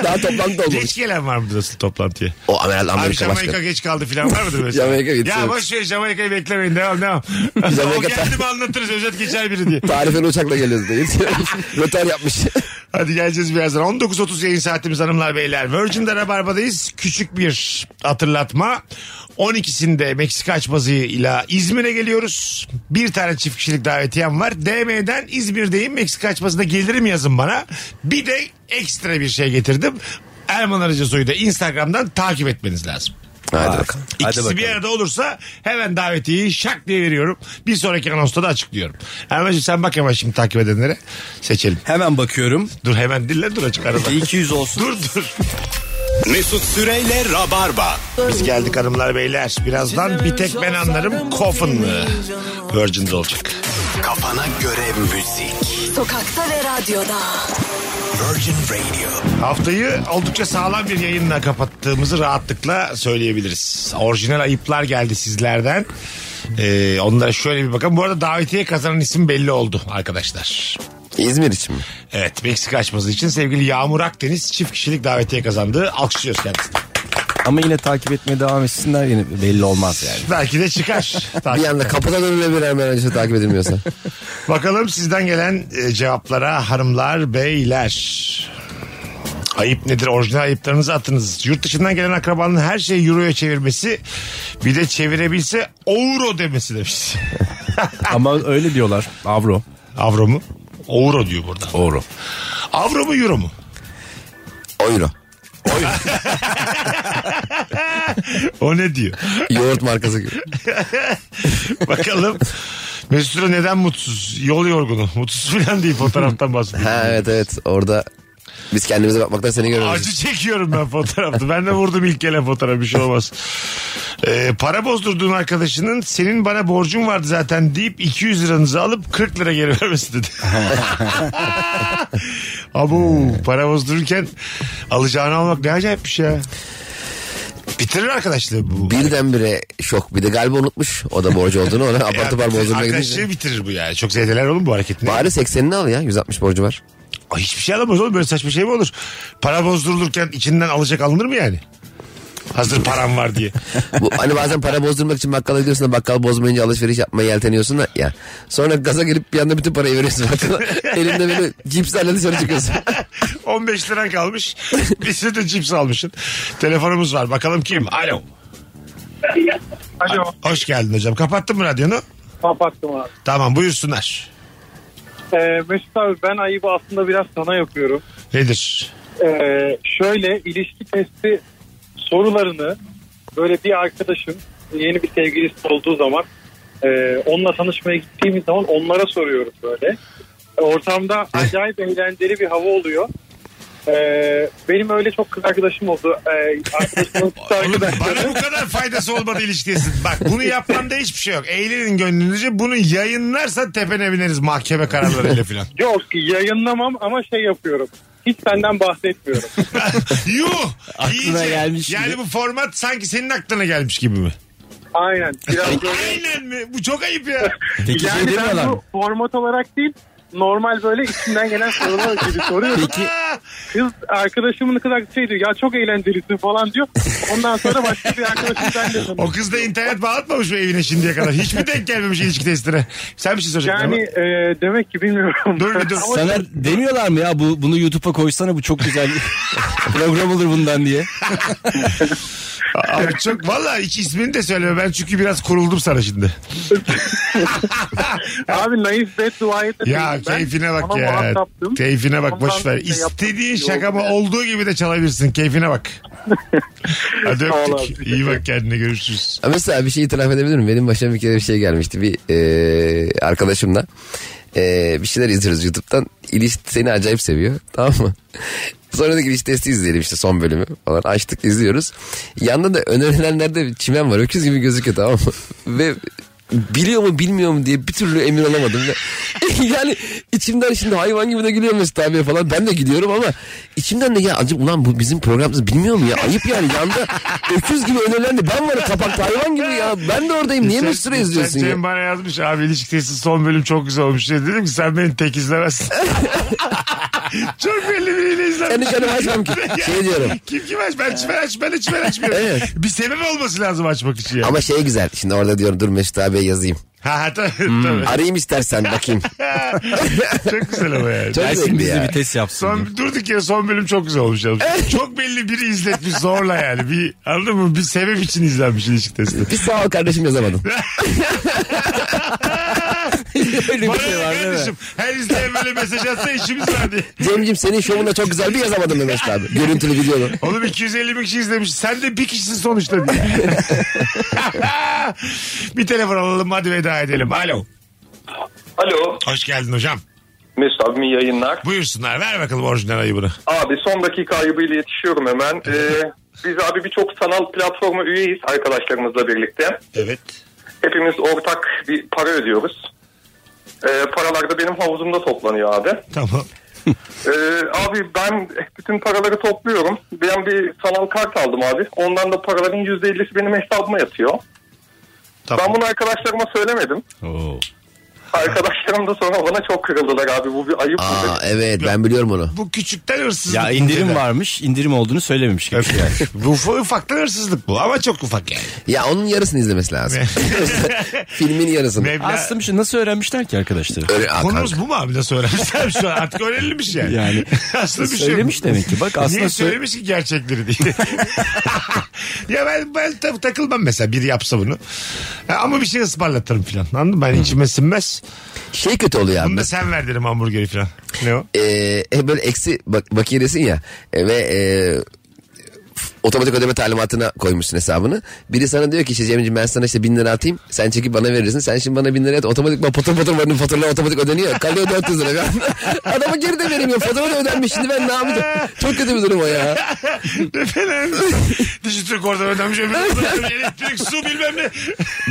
Daha toplantı olmamış.
Geç gelen var mıdır asıl toplantıya?
O Amerika,
Abi
Amerika
Jamaika
başkanı.
geç kaldı falan var mıdır mesela?
Jamaika gitsin.
Ya boş ver Jamaika'yı beklemeyin devam devam. o
Jamaika-
geldi mi anlatırız özet geçer biri diye.
Tarifeli uçakla geliyoruz diye. Röter yapmış.
Hadi geleceğiz birazdan. 19.30 yayın saatimiz hanımlar beyler. Virgin'de Rabarba'dayız. Küçük bir hatırlatma. 12'sinde Meksika açması ile İzmir'e geliyoruz. Bir tane çift kişilik davetiyem var. DM'den İzmir'deyim. Meksika açmasında gelirim yazın bana. Bir de ekstra bir şey getirdim. Erman Arıcı Soy'u da Instagram'dan takip etmeniz lazım.
Hadi bakalım.
İkisi bir arada olursa hemen davetiyeyi şak diye veriyorum. Bir sonraki anonsta da açıklıyorum. Erman'cığım sen bak hemen şimdi takip edenlere seçelim.
Hemen bakıyorum.
Dur hemen dille dur açık arada.
200 olsun.
Dur dur.
Mesut Süreyle Rabarba.
Biz geldik hanımlar beyler. Birazdan bir tek ben anlarım Coffin'lı. Virgin'de olacak.
Kafana göre müzik.
Sokakta ve radyoda.
Virgin Radio.
Haftayı oldukça sağlam bir yayınla kapattığımızı rahatlıkla söyleyebiliriz. Orijinal ayıplar geldi sizlerden. Ee, onlara şöyle bir bakın. Bu arada davetiye kazanan isim belli oldu arkadaşlar.
İzmir için mi?
Evet Meksika açması için sevgili Yağmur Akdeniz çift kişilik davetiye kazandı. Alkışlıyoruz kendisini.
Ama yine takip etmeye devam etsinler yine belli olmaz yani.
Belki de çıkar.
Bir anda kapıdan önüne bir hemen önce takip edilmiyorsa.
Bakalım sizden gelen e, cevaplara hanımlar, beyler. Ayıp nedir? Orijinal ayıplarınızı atınız. Yurt dışından gelen akrabanın her şeyi euroya çevirmesi bir de çevirebilse euro demesi demiş.
Ama öyle diyorlar. Avro.
Avro mu? Euro diyor burada.
Avro.
Avro mu euro mu?
Euro.
O ne diyor?
Yoğurt markası gibi.
Bakalım. Mesut Süre neden mutsuz? Yol yorgunu. Mutsuz falan değil fotoğraftan bahsediyor.
Ha evet evet orada biz kendimize bakmaktan seni görüyoruz.
Acı çekiyorum ben fotoğrafta. Ben de vurdum ilk gelen fotoğraf bir şey olmaz. Ee, para bozdurduğun arkadaşının senin bana borcun vardı zaten deyip 200 liranızı alıp 40 lira geri vermesi dedi. Abu para bozdururken alacağını almak ne acayip bir şey ya. Bitirir arkadaşlığı bu.
Birdenbire şok bir de galiba unutmuş o da borcu olduğunu ona apar
Ya,
topar bozdurmaya gidince.
Arkadaşlığı bitirir bu yani. Çok zedeler oğlum bu hareketini.
Bari 80'ini al ya 160 borcu var.
Ay, Hiçbir şey alamaz oğlum böyle saçma şey mi olur? Para bozdurulurken içinden alacak alınır mı yani? Hazır param var diye.
Bu, hani bazen para bozdurmak için bakkala gidiyorsun da bakkal bozmayınca alışveriş yapmaya yelteniyorsun da ya. Sonra gaza gelip bir anda bütün parayı veriyorsun bakkala. Elinde böyle cipslerle dışarı çıkıyorsun.
15 liran kalmış. Bir sürü de cips almışsın. Telefonumuz var. Bakalım kim? Alo.
Alo.
Hoş geldin hocam. Kapattın mı radyonu?
Kapattım abi.
Tamam buyursunlar.
Ee, Mesut abi ben ayıbı aslında biraz sana yapıyorum.
Nedir?
Ee, şöyle ilişki testi sorularını böyle bir arkadaşım yeni bir sevgilisi olduğu zaman e, onunla tanışmaya gittiğimiz zaman onlara soruyoruz böyle. Ortamda
Eh.
acayip eğlenceli bir hava oluyor. Ee, benim öyle çok kız arkadaşım oldu. Ee, arkadaşımın kız
Oğlum,
arkadaşları-
bana bu kadar faydası olmadı ilişkisi. Bak bunu yapmanda hiçbir şey yok. Eğlenin gönlünüzce. Bunu yayınlarsan tepene bineriz mahkeme kararlarıyla filan.
Yok yayınlamam ama şey yapıyorum. Hiç senden bahsetmiyorum.
Yuh!
Aklına
İyice.
gelmiş
Yani
gibi.
bu format sanki senin aklına gelmiş gibi mi?
Aynen. Biraz böyle...
Aynen mi? Bu çok ayıp ya.
Peki şey
yani
demiyorlar
ben
mı?
bu format olarak değil normal böyle içinden gelen sorular gibi soruyorum. Kız arkadaşımın kız arkadaşı şey diyor ya çok eğlencelisin falan diyor. Ondan sonra başka bir arkadaşım ben de
O kız da internet bağlatmamış mı evine şimdiye kadar? Hiç mi denk gelmemiş ilişki testine? Sen bir şey soracaktın
Yani
ama.
e, demek ki bilmiyorum.
Dur bir dur.
Ama
Sana demiyorlar mı ya bu bunu YouTube'a koysana bu çok güzel program olur bundan diye.
Abi çok valla hiç ismini de söyleme ben çünkü biraz kuruldum sana şimdi.
Abi naif beddua etmeyin.
Ya keyfine bak
Ama
ya.
muhataptım.
Keyfine bak
Ondan
boş ver.
bir şey yaptım.
İstediğin
Yok
şakamı
ya.
olduğu gibi de çalabilirsin. Keyfine bak. Hadi
Sağ ol
öptük. İyi bak kendine görüşürüz.
Ha, Mesela bir şey itiraf edebilir miyim? Benim başıma bir kere bir şey gelmişti. Bir e, arkadaşımla e, bir şeyler izliyoruz YouTube'dan. İliş seni acayip seviyor. Tamam mı? Sonra dedik iliş testi izleyelim işte son bölümü falan. Açtık izliyoruz. Yanında da önerilenlerde bir çimen var. Öküz gibi gözüküyor tamam mı? Ve biliyor mu bilmiyor mu diye bir türlü emin olamadım. Ve yani içimden şimdi hayvan gibi de gülüyor Mesut abiye falan. Ben de gülüyorum ama içimden de ya acaba ulan bu bizim programımız bilmiyor mu ya? Ayıp yani yanda öküz gibi önerilen de ben varım kapakta hayvan gibi ya. Ben de oradayım. Niye
Sen-
Mesut Süre izliyorsun
sen
ya?
Cem bana yazmış abi ilişkisi son bölüm çok güzel olmuş diye. Dedim ki sen beni tek izlemezsin. çok belli biriyle izlemezsin.
Kendi kendime açmam ki. Şey diyorum.
Kim kim aç? Ben çimen aç. Ben de çimen açmıyorum. Bir sebep olması lazım açmak için. Yani.
Ama şey güzel. Şimdi orada diyorum dur Mesut abiye yazayım. Hmm.
Ha, ha tabii, tabii.
Arayayım istersen bakayım.
çok güzel ama yani.
Çok
Gelsin
zevkli
bize
ya.
bir test yapsın. diye.
Son, durduk ya son bölüm çok güzel olmuş. yalnız. çok belli biri izletmiş zorla yani. Bir, anladın mı? Bir sebep için izlenmiş ilişki testi.
Bir sağ ol kardeşim yazamadım. Öyle
Bana
bir şey
ne
var değil mi?
kardeşim? Her izleyen böyle mesaj atsa işimiz var diye.
Cem'cim senin şovunda çok güzel bir yazamadım be Mesut abi. Görüntülü videolu.
Oğlum 250 bin kişi izlemiş. Sen de bir kişisin sonuçta diye. bir telefon alalım hadi veda edelim. Alo.
Alo.
Hoş geldin hocam.
Mesut abim iyi yayınlar.
Buyursunlar ver bakalım orijinal ayıbını.
Abi son dakika ayıbıyla yetişiyorum hemen. Ee, biz abi birçok sanal platforma üyeyiz arkadaşlarımızla birlikte.
Evet.
Hepimiz ortak bir para ödüyoruz. Ee, paralar da benim havuzumda toplanıyor abi.
Tamam.
Ee, abi ben bütün paraları topluyorum. Ben bir sanal kart aldım abi. Ondan da paraların %50'si benim hesabıma yatıyor. Ben bunu arkadaşlarıma söylemedim. Arkadaşlarım da sonra bana çok kırıldılar abi. Bu bir ayıp. mı dedi.
Aa, evet ben biliyorum onu.
e, Bu küçükten hırsızlık.
Ya indirim
Neden?
varmış. indirim olduğunu söylememiş gibi. Yani.
Bu ufa- ufaktan hırsızlık bu ama çok ufak yani.
Ya onun yarısını izlemesi lazım. Filmin yarısını.
Mevla-
Aslım şu şey, nasıl öğrenmişler ki arkadaşlar?
Öyle, aa,
Konumuz
kanka.
bu mu abi nasıl öğrensem şu an artık öğrenilmiş yani.
Yani
aslında bir şey
söylemiş
yok.
demek ki. Bak aslında
Niye
sö-
söylemiş ki gerçekleri diye. ya ben, ben tabii takılmam mesela biri yapsa bunu. Ha, Ama bir şey ısmarlatırım filan. Anladın mı? Ben içime sinmez.
Şey kötü oluyor
Bunu
abi.
da sen ver derim hamburgeri filan. Ne o?
Ee, hep böyle eksi bak, bakiyedesin ya. E, ve e, f- otomatik ödeme talimatına koymuşsun hesabını. Biri sana diyor ki işte Cem'ciğim ben sana işte bin lira atayım. Sen çekip bana verirsin. Sen şimdi bana bin lira at. Otomatik bak patır patır varın faturalar otomatik ödeniyor. Kalıyor 400 lira. Ben, adama geri de vereyim ya. Fatura da ödenmiş. Şimdi ben ne yapacağım? Çok kötü bir durum o ya.
Ne fena. Dijitürk orada ödemiş öbür orada ödemiş. Elektrik, su bilmem ne.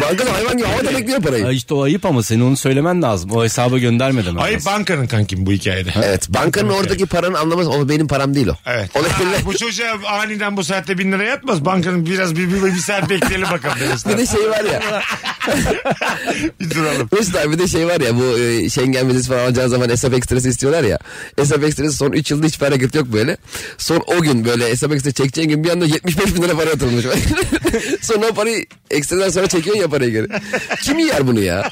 Bankada hayvan gibi havada bekliyor parayı.
Ay işte o ayıp ama senin onu söylemen lazım. O hesaba gönderme demen
Ay
lazım.
bankanın kankim bu hikayede.
Evet bankanın oradaki paranın anlaması o benim param değil o.
Evet.
O nedenle-
Aa, bu çocuğa aniden bu saatte bin lira yatmaz. Bankanın biraz bir, bir, bir saat bekleyelim bakalım.
bir de şey var ya.
bir duralım.
Mesut abi bir de şey var ya bu e, Schengen vizesi falan alacağı zaman hesap ekstresi istiyorlar ya. Hesap ekstresi son 3 yılda hiçbir hareket yok böyle. Son o gün böyle hesap ekstresi çekeceğin gün bir anda 75 bin lira para atılmış. sonra o parayı ekstradan sonra çekiyorsun ya parayı geri. Kim yer bunu ya?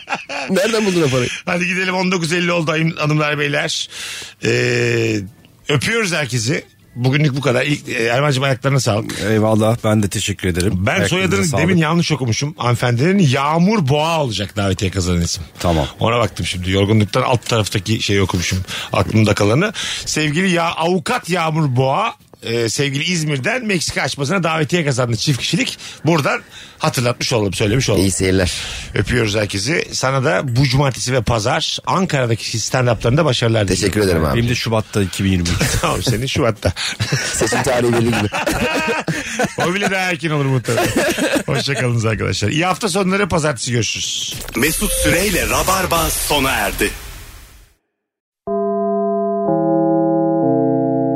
Nereden buldun o parayı?
Hadi gidelim 19.50 oldu hanım- hanımlar beyler. Ee, öpüyoruz herkesi. Bugünlük bu kadar. İlk, e, Erman'cığım ayaklarına sağlık.
Eyvallah ben de teşekkür ederim.
Ben
Ayaklarınıza
soyadını
sağlık.
demin yanlış okumuşum. Hanımefendinin Yağmur Boğa olacak davetiye kazanan isim.
Tamam.
Ona baktım şimdi. Yorgunluktan alt taraftaki şeyi okumuşum. Aklımda kalanı. Sevgili ya avukat Yağmur Boğa e, sevgili İzmir'den Meksika açmasına davetiye kazandı çift kişilik. Buradan hatırlatmış olalım, söylemiş olalım.
İyi seyirler.
Öpüyoruz herkesi. Sana da bu cumartesi ve pazar Ankara'daki stand-up'larında başarılar diliyorum.
Teşekkür ederim abi.
Benim de Şubat'ta 2023.
Tamam senin şu hatta.
Seçim tarihi belli gibi.
o bile daha erken olur muhtemelen. Hoşçakalınız arkadaşlar. İyi hafta sonları pazartesi görüşürüz.
Mesut Süreyle Rabarba sona erdi.